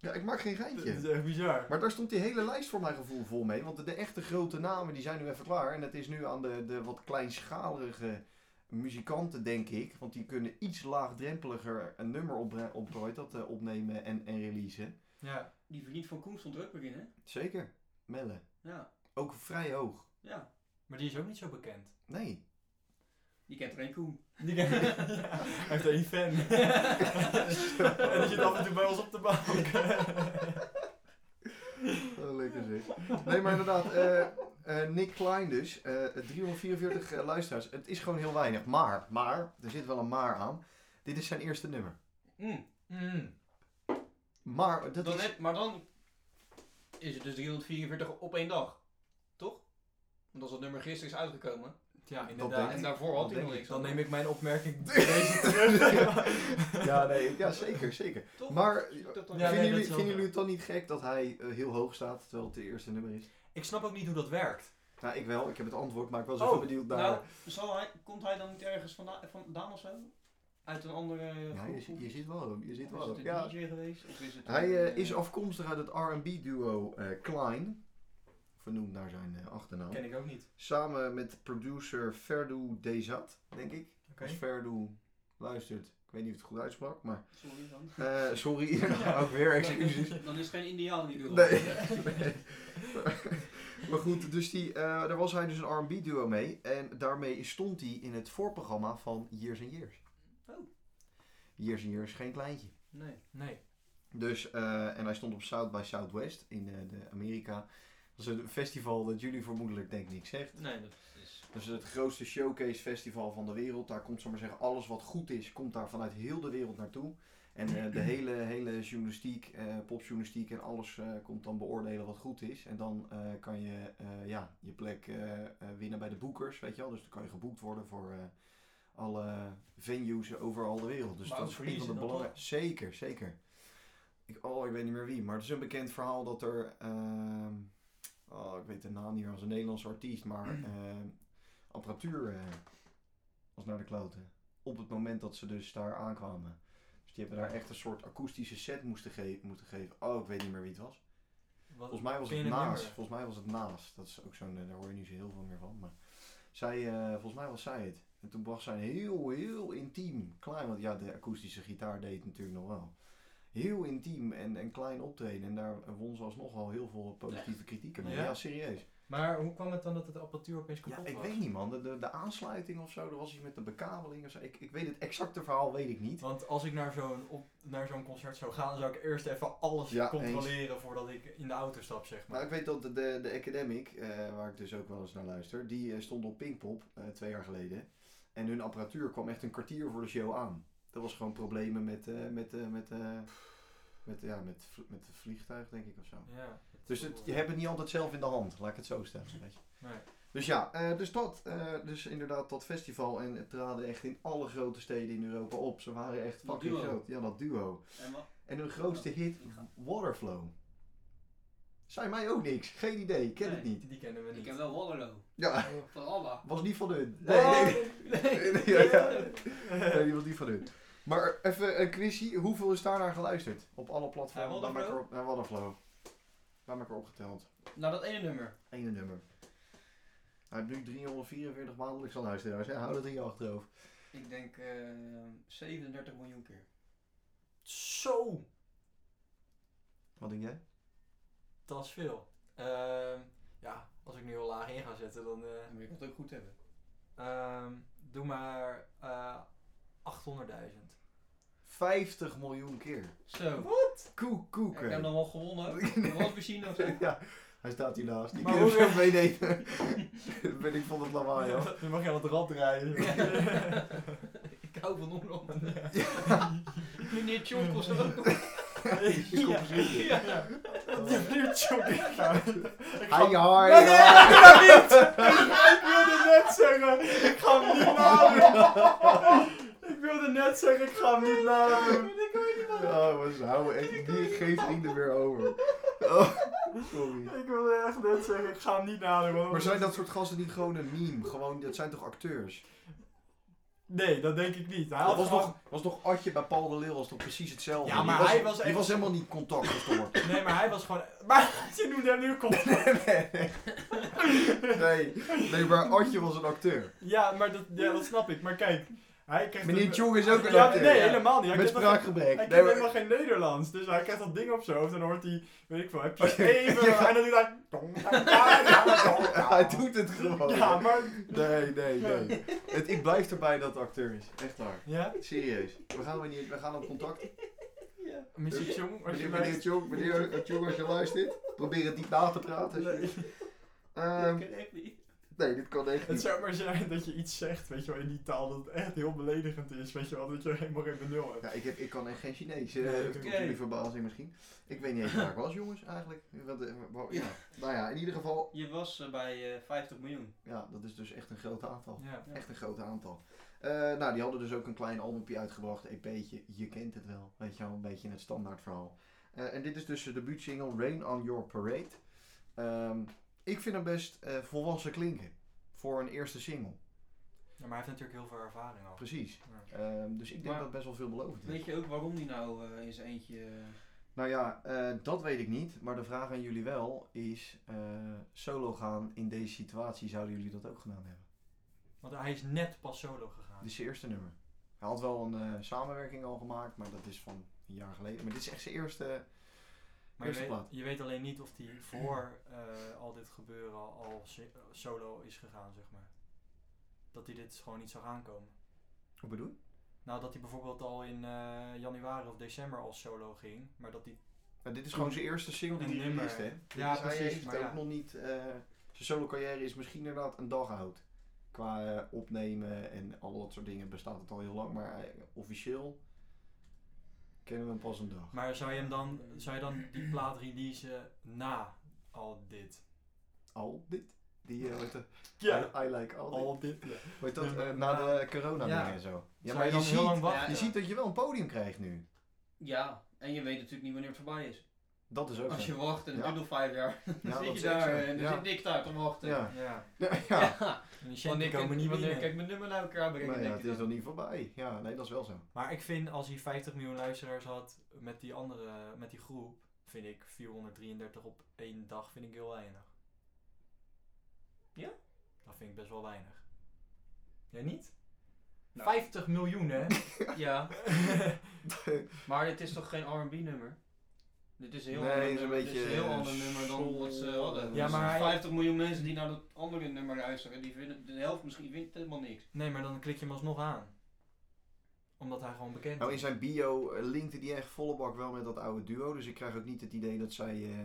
[SPEAKER 2] Ja, ik maak geen
[SPEAKER 1] Dat
[SPEAKER 2] geintje.
[SPEAKER 1] is echt bizar.
[SPEAKER 2] Maar daar stond die hele lijst voor mijn gevoel vol mee. Want de, de echte grote namen die zijn nu even klaar. En het is nu aan de, de wat kleinschalige muzikanten, denk ik. Want die kunnen iets laagdrempeliger een nummer op, op hoe heet dat, eh, opnemen en, en releasen.
[SPEAKER 1] Ja.
[SPEAKER 3] Die vriend van Koen stond er ook weer in, hè?
[SPEAKER 2] Zeker. Melle.
[SPEAKER 3] Ja,
[SPEAKER 2] Ook vrij hoog.
[SPEAKER 3] ja.
[SPEAKER 1] Maar die is ook niet zo bekend.
[SPEAKER 2] Nee.
[SPEAKER 3] Die kent alleen Koen.
[SPEAKER 1] Die ken- Hij heeft één fan. en die zit af en toe bij ons op de bank.
[SPEAKER 2] Oh, lekker zeg. Nee, maar inderdaad. eh, eh, Nick Klein dus. eh, 344 eh, luisteraars. Het is gewoon heel weinig. Maar, maar, er zit wel een maar aan. Dit is zijn eerste nummer.
[SPEAKER 3] Mm.
[SPEAKER 1] Mm.
[SPEAKER 2] Maar, dat
[SPEAKER 3] Dan
[SPEAKER 2] is...
[SPEAKER 3] heb- maar dan is het dus 344 op één dag. Toch? Want als dat nummer gisteren is uitgekomen.
[SPEAKER 1] Ja,
[SPEAKER 2] denk
[SPEAKER 3] En
[SPEAKER 1] inderdaad.
[SPEAKER 3] daarvoor had
[SPEAKER 2] dat
[SPEAKER 3] hij nog
[SPEAKER 2] denk
[SPEAKER 3] niks.
[SPEAKER 1] Dan neem ik mijn opmerking deze
[SPEAKER 2] ja,
[SPEAKER 1] terug.
[SPEAKER 2] ja, nee, ja, zeker, zeker.
[SPEAKER 3] Toch?
[SPEAKER 2] Maar-
[SPEAKER 3] Zie ik dat dan?
[SPEAKER 1] Ja, nee,
[SPEAKER 2] vinden
[SPEAKER 1] dat
[SPEAKER 2] jullie,
[SPEAKER 1] is wel
[SPEAKER 2] vinden
[SPEAKER 1] zo.
[SPEAKER 2] jullie het dan niet gek dat hij eh, heel hoog staat, terwijl het de eerste nummer is?
[SPEAKER 1] Ik snap ook niet hoe dat werkt.
[SPEAKER 2] Nou, ik wel. Ik heb het antwoord, maar ik was even
[SPEAKER 1] Oh,
[SPEAKER 2] benieuwd naar...
[SPEAKER 3] Nou, zal hij, komt hij dan niet ergens vandaan, vandaan of zo? Uit een andere
[SPEAKER 2] ja, je, je ziet wel, je ziet
[SPEAKER 3] Is
[SPEAKER 2] wel.
[SPEAKER 3] het een
[SPEAKER 2] Ja.
[SPEAKER 3] DJ geweest? Of is het
[SPEAKER 2] Hij
[SPEAKER 3] een,
[SPEAKER 2] eh,
[SPEAKER 3] eh,
[SPEAKER 2] is afkomstig uit het R&B-duo eh, Klein, vernoemd naar zijn eh, achternaam.
[SPEAKER 1] Ken ik ook niet.
[SPEAKER 2] Samen met producer Ferdu Dezat, denk ik.
[SPEAKER 1] Oké.
[SPEAKER 2] Als Ferdu luistert, ik weet niet of ik het goed uitsprak, maar...
[SPEAKER 3] Sorry dan.
[SPEAKER 2] eh, sorry, ook weer excuses.
[SPEAKER 3] Dan is het geen Indiaan die wil.
[SPEAKER 2] Nee. Nee. maar goed, dus die, eh, daar was hij dus een R&B duo mee. En daarmee stond hij in het voorprogramma van Years and Years.
[SPEAKER 3] Oh.
[SPEAKER 2] Years and Years is geen kleintje.
[SPEAKER 3] Nee.
[SPEAKER 1] Nee.
[SPEAKER 2] Dus, eh, en hij stond op South by Southwest in eh, de Amerika. Dat is een festival dat jullie vermoedelijk denk ik niks zegt.
[SPEAKER 3] Nee, dat is...
[SPEAKER 2] Dat is Dus het grootste showcase festival van de wereld. Daar komt, zomaar zeggen, alles wat goed is, komt daar vanuit heel de wereld naartoe. En eh, de hele, hele journalistiek, eh, popjournalistiek en alles eh, komt dan beoordelen wat goed is. En dan eh, kan je eh, ja, je plek eh, eh, winnen bij de boekers, weet je wel. Dus dan kan je geboekt worden voor eh, alle venues overal de wereld. Dus
[SPEAKER 1] Maar
[SPEAKER 2] dat
[SPEAKER 1] ook
[SPEAKER 2] is een van de
[SPEAKER 1] verliezen dan
[SPEAKER 2] belangrijkste. Zeker, zeker. Ik, oh, ik weet niet meer wie. Maar het is een bekend verhaal dat er... ehm, oh, ik weet de naam niet meer. als een Nederlandse artiest, maar... ehm, apparatuur eh, was naar de kloten. Op het moment dat ze dus daar aankwamen. Dus die hebben daar echt een soort akoestische set moesten ge- moeten geven. Oh, ik weet niet meer wie het was.
[SPEAKER 1] Wat-
[SPEAKER 2] Volgens mij was
[SPEAKER 1] ken
[SPEAKER 2] het
[SPEAKER 1] je een
[SPEAKER 2] Naas.
[SPEAKER 1] nummer?
[SPEAKER 2] Volgens mij was het Naas. Dat is ook zo'n, eh, daar hoor je niet zo heel veel meer van. Maar zij, eh, volgens mij was zij het. En toen bracht zij een heel, heel intiem, klein, want ja, de akoestische gitaar deed het natuurlijk nog wel. Heel intiem en, en klein optreden. En daar won ze alsnog al heel veel positieve kritieken mee.
[SPEAKER 1] Ja?
[SPEAKER 2] ja serieus.
[SPEAKER 1] Maar hoe kwam het dan dat het apparatuur opeens kapot
[SPEAKER 2] Ja, ik
[SPEAKER 1] was?
[SPEAKER 2] weet niet man, de, de, de aansluiting of zo, er was iets met de bekabeling of zo. Ik, ik weet het exacte verhaal, weet ik niet.
[SPEAKER 1] Want als ik naar zo'n, op, naar zo'n concert zou gaan, dan zou ik eerst even alles
[SPEAKER 2] Ja,
[SPEAKER 1] controleren voordat ik in de auto stap, zeg maar.
[SPEAKER 2] Maar ik weet dat de, de, de Academic, eh, waar ik dus ook wel eens naar luister, die eh, stond op Pinkpop eh, twee jaar geleden. En hun apparatuur kwam echt een kwartier voor de show aan. Dat was gewoon problemen met, eh, met, eh, met, eh, met, ja, met, vl- met het vliegtuig denk ik of zo.
[SPEAKER 1] Ja,
[SPEAKER 2] Dus het, je hebt het niet altijd zelf in de hand, laat ik het zo stellen. Weet je.
[SPEAKER 1] Nee.
[SPEAKER 2] Dus ja, eh, dus dat. eh, dus inderdaad, dat festival. En het traden echt in alle grote steden in Europa op. Ze waren echt
[SPEAKER 3] Dat
[SPEAKER 2] fucking
[SPEAKER 3] duo.
[SPEAKER 2] groot. Ja, dat duo.
[SPEAKER 3] En wat?
[SPEAKER 2] En hun grootste hit, Waterflow. Zei mij ook niks. Geen idee. Ik ken
[SPEAKER 3] Nee.
[SPEAKER 2] het niet.
[SPEAKER 1] Die kennen we
[SPEAKER 3] Ik
[SPEAKER 1] niet.
[SPEAKER 3] ken wel Wallerlo.
[SPEAKER 2] Ja,
[SPEAKER 3] Van Alba.
[SPEAKER 2] was niet van hun. Nee, nee, nee. nee, ja, ja. nee die was niet van hun. Maar even een quizje. Hoeveel is daar naar geluisterd? Op alle platformen.
[SPEAKER 3] Naar
[SPEAKER 2] Laat me
[SPEAKER 3] Waterflow?
[SPEAKER 2] erop- Naar Waterflow. Laat me erop geteld.
[SPEAKER 3] Nou, dat ene nummer.
[SPEAKER 2] Ene nummer. Hij heeft nu 344 maandelijks al luisteraars. hè? Hou dat in je achterhoofd.
[SPEAKER 3] Ik denk eh, 37 miljoen keer.
[SPEAKER 1] Zo,
[SPEAKER 2] Wat denk jij?
[SPEAKER 1] dat is veel. Ehm, ja, als ik nu heel laag in ga zetten, dan... eh,
[SPEAKER 3] Dan moet ik het ook goed hebben.
[SPEAKER 1] ehm, doe maar eh 800.000.
[SPEAKER 2] 50 miljoen keer.
[SPEAKER 3] Zo.
[SPEAKER 2] Koek,
[SPEAKER 3] Ik
[SPEAKER 2] koek. hè?
[SPEAKER 3] heb dan wel gewonnen. De wasmachine of zo.
[SPEAKER 2] Ja, hij staat hiernaast. Die
[SPEAKER 1] Maar
[SPEAKER 2] kunnen
[SPEAKER 1] hoe-
[SPEAKER 2] zo meenemen. Dat ben ik van het lawaai, hoor.
[SPEAKER 1] Nu mag je wat rad draaien.
[SPEAKER 3] Ik hou van Holland. Meneer Tjonk was er ook nog.
[SPEAKER 2] Die komt precies.
[SPEAKER 3] Ja. Ja.
[SPEAKER 2] Hi, hi,
[SPEAKER 1] Nee, nee,
[SPEAKER 2] hi.
[SPEAKER 1] ik ga niet! Ik wilde net zeggen, ik ga hem niet nadoen. Ik wilde net zeggen, ik ga hem niet nadoen.
[SPEAKER 2] Ja, maar ze houden Oh, echt niet, geen vrienden meer over. Oh, sorry.
[SPEAKER 1] Ik wilde echt net zeggen, ik ga hem niet nadoen.
[SPEAKER 2] Maar zijn dat soort gasten niet gewoon een meme? Gewoon, dat zijn toch acteurs?
[SPEAKER 1] Nee, dat denk ik niet. Hij had
[SPEAKER 2] Dat was
[SPEAKER 1] gewoon-
[SPEAKER 2] toch, was toch Adje bij Paul de Leeuw was toch precies hetzelfde.
[SPEAKER 1] Ja,
[SPEAKER 2] Die
[SPEAKER 1] maar
[SPEAKER 2] was,
[SPEAKER 1] hij was
[SPEAKER 2] die
[SPEAKER 1] echt-
[SPEAKER 2] was helemaal niet contact gestoord.
[SPEAKER 1] Nee, maar hij was gewoon... Maar je noemde hem nu kop.
[SPEAKER 2] nee, nee, maar Adje was een acteur.
[SPEAKER 1] Ja, maar dat, ja, dat snap ik. Maar kijk, hij krijgt...
[SPEAKER 2] Meneer
[SPEAKER 1] een-
[SPEAKER 2] Tjong is ook een
[SPEAKER 1] Ja,
[SPEAKER 2] acteur.
[SPEAKER 1] nee,
[SPEAKER 3] ja.
[SPEAKER 1] helemaal niet. Hij
[SPEAKER 2] Met
[SPEAKER 1] kent nog-
[SPEAKER 2] spraakgebrek.
[SPEAKER 1] Hij
[SPEAKER 2] Nee,
[SPEAKER 1] kent
[SPEAKER 2] maar-
[SPEAKER 1] helemaal geen Nederlands, dus hij krijgt dat ding op zijn hoofd en dan hoort hij, weet ik veel, heb
[SPEAKER 2] Oké,
[SPEAKER 1] je even,
[SPEAKER 2] ja.
[SPEAKER 1] en dan doet hij... tong, tong, ja, ja, tong, ja.
[SPEAKER 2] Hij doet het gewoon.
[SPEAKER 1] Ja, maar...
[SPEAKER 2] Nee, nee, nee. Het, ik blijf erbij dat het acteur is. Echt waar.
[SPEAKER 1] Ja,
[SPEAKER 2] Serieus. We gaan, wanneer, we gaan op contact.
[SPEAKER 1] Missy Jong, als je
[SPEAKER 2] Meneer,
[SPEAKER 1] mij...
[SPEAKER 2] meneer Tjong, meneer eh, Tjong, als je luistert, probeer het niet na te praten. alsjeblieft. Ehm,
[SPEAKER 3] dat kan echt niet.
[SPEAKER 2] nee, dit kan echt
[SPEAKER 1] Het
[SPEAKER 2] niet.
[SPEAKER 1] zou maar zijn dat je iets zegt, weet je wel, in die taal dat het echt heel beledigend is, weet je wel, dat je helemaal geen benul hebt.
[SPEAKER 2] Ja, ik, heb, ik kan echt geen Chinees. eh,
[SPEAKER 1] Nee, ik
[SPEAKER 2] tot
[SPEAKER 1] ook
[SPEAKER 2] jullie
[SPEAKER 3] niet.
[SPEAKER 2] verbazing misschien. Ik weet niet eens waar ik was, jongens, eigenlijk. Wat, eh, wa- ja. Nou ja, in ieder geval,
[SPEAKER 3] Je was eh, bij eh, 50 miljoen.
[SPEAKER 2] ja, dat is dus echt een groot aantal.
[SPEAKER 1] Ja.
[SPEAKER 2] Echt een groot aantal. Eh, nou, die hadden dus ook een klein albumpje uitgebracht, EP'tje. Je kent het wel, weet je wel, een beetje het standaard verhaal. Eh, en dit is dus de debuutsingle Rain on Your Parade. Ehm, ik vind hem best eh, volwassen klinken voor een eerste single.
[SPEAKER 1] Ja, maar hij heeft natuurlijk heel veel ervaring al.
[SPEAKER 2] Precies.
[SPEAKER 1] Ja.
[SPEAKER 2] Ehm, dus ik denk dat
[SPEAKER 3] Maar-
[SPEAKER 2] het best wel veelbelovend is.
[SPEAKER 3] Weet je ook waarom die nou eh, in zijn eentje...
[SPEAKER 2] Nou ja, eh, dat weet ik niet. Maar de vraag aan jullie wel is: eh, solo gaan in deze situatie, zouden jullie dat ook gedaan hebben?
[SPEAKER 1] Want hij is net pas solo gegaan.
[SPEAKER 2] Dit is zijn eerste nummer. Hij had wel een eh, samenwerking al gemaakt, maar dat is van een jaar geleden. Maar dit is echt zijn eerste.
[SPEAKER 1] maar je
[SPEAKER 2] eerste
[SPEAKER 1] weet,
[SPEAKER 2] plaat.
[SPEAKER 1] je weet alleen niet of hij voor eh, al dit gebeuren al si- solo is gegaan, zeg maar. Dat hij dit dus gewoon niet zou aankomen.
[SPEAKER 2] Hoe bedoel je?
[SPEAKER 1] Nou, dat hij bijvoorbeeld al in eh, januari of december al solo ging, maar dat hij...
[SPEAKER 2] Nou, dit is gewoon zijn eerste single die
[SPEAKER 1] Een
[SPEAKER 2] hij
[SPEAKER 1] nummer.
[SPEAKER 2] released, hè? Dit
[SPEAKER 1] Ja,
[SPEAKER 2] is- Hij
[SPEAKER 1] precies,
[SPEAKER 2] heeft
[SPEAKER 1] maar
[SPEAKER 2] ook
[SPEAKER 1] ja.
[SPEAKER 2] nog niet. eh, zijn solo carrière is misschien inderdaad een dag oud. Qua eh, opnemen en al dat soort dingen bestaat het al heel lang, maar hij- officieel kennen we hem pas een dag.
[SPEAKER 1] Maar zou je hem dan, zou je dan die plaat releasen na al dit?
[SPEAKER 2] Al dit. Die, eh, wat, eh,
[SPEAKER 1] Ja,
[SPEAKER 2] I, I like all
[SPEAKER 1] al dit, ja.
[SPEAKER 2] Weet dat,
[SPEAKER 1] Ja, maar-
[SPEAKER 2] eh, na de corona
[SPEAKER 1] Ja.
[SPEAKER 2] dingen en zo. Ja,
[SPEAKER 1] Zou je
[SPEAKER 2] maar je,
[SPEAKER 1] dan
[SPEAKER 2] ziet,
[SPEAKER 1] heel lang wachten?
[SPEAKER 2] je
[SPEAKER 3] Ja.
[SPEAKER 2] ziet dat je wel een podium krijgt nu.
[SPEAKER 3] Ja, en je weet natuurlijk niet wanneer het voorbij is.
[SPEAKER 2] Dat is ook
[SPEAKER 3] Als
[SPEAKER 2] zo.
[SPEAKER 3] je wacht en het
[SPEAKER 2] Ja.
[SPEAKER 3] duurt nog vijf jaar, dan
[SPEAKER 2] Ja, dat
[SPEAKER 3] zit
[SPEAKER 2] is
[SPEAKER 3] je
[SPEAKER 2] echt
[SPEAKER 3] daar
[SPEAKER 2] zo.
[SPEAKER 3] en dan
[SPEAKER 2] Ja.
[SPEAKER 3] zit Nick daar te wachten.
[SPEAKER 2] Ja.
[SPEAKER 1] Ja,
[SPEAKER 2] Ja, ja.
[SPEAKER 3] Ja.
[SPEAKER 1] en die
[SPEAKER 3] Wanneer
[SPEAKER 1] centen komen
[SPEAKER 3] kan-
[SPEAKER 1] niet
[SPEAKER 3] wanneer
[SPEAKER 1] binnen.
[SPEAKER 3] kan ik mijn nummer naar elkaar brengen?
[SPEAKER 2] Nee, ja,
[SPEAKER 3] denk
[SPEAKER 2] het
[SPEAKER 3] je
[SPEAKER 2] is
[SPEAKER 3] dan?
[SPEAKER 2] nog niet voorbij. Ja, nee, dat is wel zo.
[SPEAKER 1] Maar ik vind als hij 50 miljoen luisteraars had met die andere, met die groep, vind ik 433 op één dag vind ik heel weinig.
[SPEAKER 3] Ja?
[SPEAKER 1] Dat vind ik best wel weinig. Jij niet?
[SPEAKER 3] Nou.
[SPEAKER 1] 50 miljoen hè?
[SPEAKER 3] Ja, maar het is toch geen R&B nummer? Dit is een heel
[SPEAKER 2] Nee,
[SPEAKER 3] ander
[SPEAKER 2] het is een
[SPEAKER 3] nummer. Dit is een
[SPEAKER 2] beetje,
[SPEAKER 3] heel
[SPEAKER 2] eh,
[SPEAKER 3] ander nummer dan wat ze hadden.
[SPEAKER 1] Ja,
[SPEAKER 3] Ja,
[SPEAKER 1] maar
[SPEAKER 3] maar
[SPEAKER 1] hij-
[SPEAKER 3] 50 miljoen mensen die naar dat andere nummer luisteren, die vinden de helft misschien vindt het helemaal niks.
[SPEAKER 1] nee, maar dan klik je hem alsnog aan. Omdat hij gewoon bekend
[SPEAKER 2] nou, in
[SPEAKER 1] is.
[SPEAKER 2] zijn bio eh, linkte die echt volle bak wel met dat oude duo. Dus ik krijg ook niet het idee dat zij eh,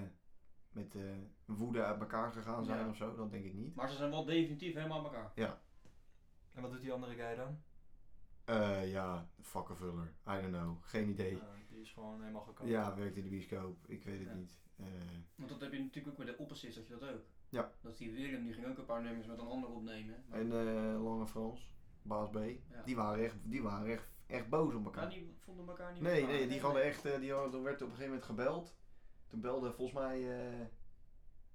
[SPEAKER 2] met eh, woede uit elkaar gegaan zijn
[SPEAKER 3] Ja.
[SPEAKER 2] of zo. Dat denk ik niet.
[SPEAKER 3] Maar ze zijn wel definitief helemaal aan elkaar.
[SPEAKER 1] En wat doet die andere guy dan?
[SPEAKER 2] Eh, ja, vakkenvuller. I don't know. Geen idee.
[SPEAKER 1] Nou, die is gewoon helemaal gekant.
[SPEAKER 2] Ja, werkt in de bioscoop. Ik weet het
[SPEAKER 3] Ja.
[SPEAKER 2] niet. Eh,
[SPEAKER 3] Want dat heb je natuurlijk ook met de opposites, dat je dat ook.
[SPEAKER 2] Ja.
[SPEAKER 3] Dat die Willem, die ging ook een paar nummers met een ander opnemen. Maar
[SPEAKER 2] en eh, Lange Frans, Baas B.
[SPEAKER 3] Ja.
[SPEAKER 2] Die waren echt, die waren echt, echt boos op elkaar.
[SPEAKER 3] Ja, die vonden elkaar niet
[SPEAKER 2] Nee,
[SPEAKER 3] meer
[SPEAKER 2] nee,
[SPEAKER 3] aan.
[SPEAKER 2] die hadden echt, eh, die hadden, er werd op een gegeven moment gebeld. Toen belde volgens mij eh,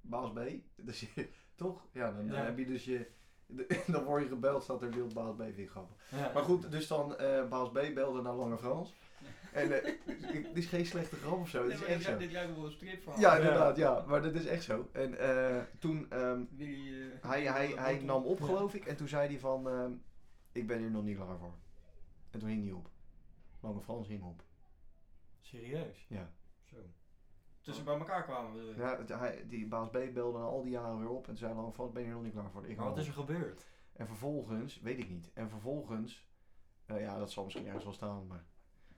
[SPEAKER 2] baas B. Dus, je- toch? Ja, dan, dan
[SPEAKER 1] Ja.
[SPEAKER 2] heb je dus je, de- dan word je gebeld, staat er beeld baas B, vind ik grappig.
[SPEAKER 1] Ja.
[SPEAKER 2] Maar goed, dus dan eh, baas B belde naar Lange Frans. En eh, dit is geen slechte grap of zo,
[SPEAKER 3] Nee,
[SPEAKER 2] dit is
[SPEAKER 3] maar
[SPEAKER 2] echt
[SPEAKER 3] dit
[SPEAKER 2] zo.
[SPEAKER 3] lijkt- Dit lijkt wel een stripverhaal.
[SPEAKER 2] Ja, inderdaad, ja, maar dat is echt zo. En eh, toen, ehm,
[SPEAKER 3] Willy, eh,
[SPEAKER 2] hij, hij, hij
[SPEAKER 3] Anton.
[SPEAKER 2] nam op geloof ik en toen zei hij van, ehm, ik ben hier nog niet klaar voor. En toen hing hij op. Lange Frans hing op.
[SPEAKER 1] Serieus?
[SPEAKER 2] Ja.
[SPEAKER 1] Zo.
[SPEAKER 3] Tussen bij elkaar kwamen, bedoel je?
[SPEAKER 2] Ja, het- hij, die baas B belde na al die jaren weer op en zei lang van, ben je er nog niet klaar voor? Ik
[SPEAKER 1] Maar wat
[SPEAKER 2] wel."
[SPEAKER 1] is er gebeurd?
[SPEAKER 2] En vervolgens, weet ik niet, en vervolgens, eh, ja dat zal misschien ergens wel staan, maar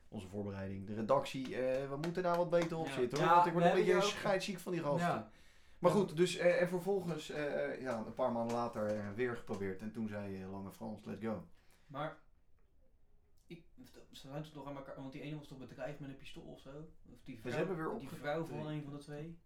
[SPEAKER 2] onze voorbereiding, de redactie, eh, we moeten daar wat beter op
[SPEAKER 3] Ja.
[SPEAKER 2] zitten hoor,
[SPEAKER 1] Ja,
[SPEAKER 2] want ik word
[SPEAKER 1] we
[SPEAKER 2] een beetje
[SPEAKER 1] hebben hier ook-
[SPEAKER 2] scheidsziek van die gasten.
[SPEAKER 1] Ja.
[SPEAKER 2] Maar goed, dus, eh, en vervolgens, eh, eh, ja, een paar maanden later eh, weer geprobeerd en toen zei eh, Lange Frans, let's go.
[SPEAKER 3] Maar ik, ze zijn toch nog aan elkaar, want die ene was toch bedreigd met een pistool of zo? Of die vrouw,
[SPEAKER 2] hebben weer
[SPEAKER 3] die
[SPEAKER 2] opge-
[SPEAKER 3] vrouw van een van de twee.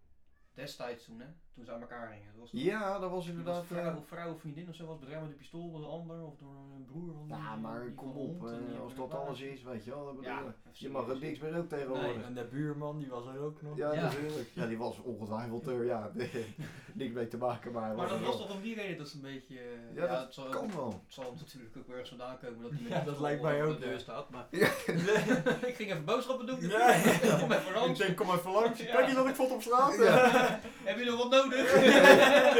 [SPEAKER 3] destijds toen, hè? Toen ze aan elkaar gingen. Dat was
[SPEAKER 2] Ja, dat was
[SPEAKER 3] Die was
[SPEAKER 2] inderdaad... eh,
[SPEAKER 3] vrouw, vrouw of vriendin of zo was bedreigd met een pistool door de ander of door een broer van
[SPEAKER 2] Ja,
[SPEAKER 3] die-
[SPEAKER 2] maar
[SPEAKER 3] die
[SPEAKER 2] kom
[SPEAKER 3] van de
[SPEAKER 2] op,
[SPEAKER 3] hond en die
[SPEAKER 2] eh,
[SPEAKER 3] hebben
[SPEAKER 2] als
[SPEAKER 3] een
[SPEAKER 2] dat
[SPEAKER 3] baas.
[SPEAKER 2] alles is, weet je wel, dat bedoel
[SPEAKER 3] Ja,
[SPEAKER 2] ik.
[SPEAKER 3] even
[SPEAKER 2] Je mag er niks
[SPEAKER 3] serieus.
[SPEAKER 2] meer ook tegenwoordig.
[SPEAKER 1] En de buurman, die was er ook nog.
[SPEAKER 2] Ja,
[SPEAKER 3] Ja.
[SPEAKER 2] natuurlijk. Ja, die was ongetwijfeld er, ja, niks mee te maken, maar... hij
[SPEAKER 3] Maar dat
[SPEAKER 2] er
[SPEAKER 3] was
[SPEAKER 2] wel.
[SPEAKER 3] toch om die reden dat ze een beetje... eh,
[SPEAKER 2] Ja, dat
[SPEAKER 3] het zal,
[SPEAKER 2] Kan wel.
[SPEAKER 3] het zal natuurlijk ook wel ergens vandaan komen dat
[SPEAKER 1] Ja,
[SPEAKER 3] die
[SPEAKER 1] dat lijkt mij
[SPEAKER 3] op
[SPEAKER 1] ook,
[SPEAKER 3] de
[SPEAKER 1] ja.
[SPEAKER 3] deur staat, maar...
[SPEAKER 2] Ja.
[SPEAKER 3] ik ging even boodschappen doen.
[SPEAKER 1] Ja, ja.
[SPEAKER 3] Kom even
[SPEAKER 1] Ik
[SPEAKER 3] langs.
[SPEAKER 1] denk, kom even langs.
[SPEAKER 3] Ja.
[SPEAKER 1] Kijk je dat ik vond op straat?
[SPEAKER 2] Ja.
[SPEAKER 3] Hebben jullie nog wat nodig?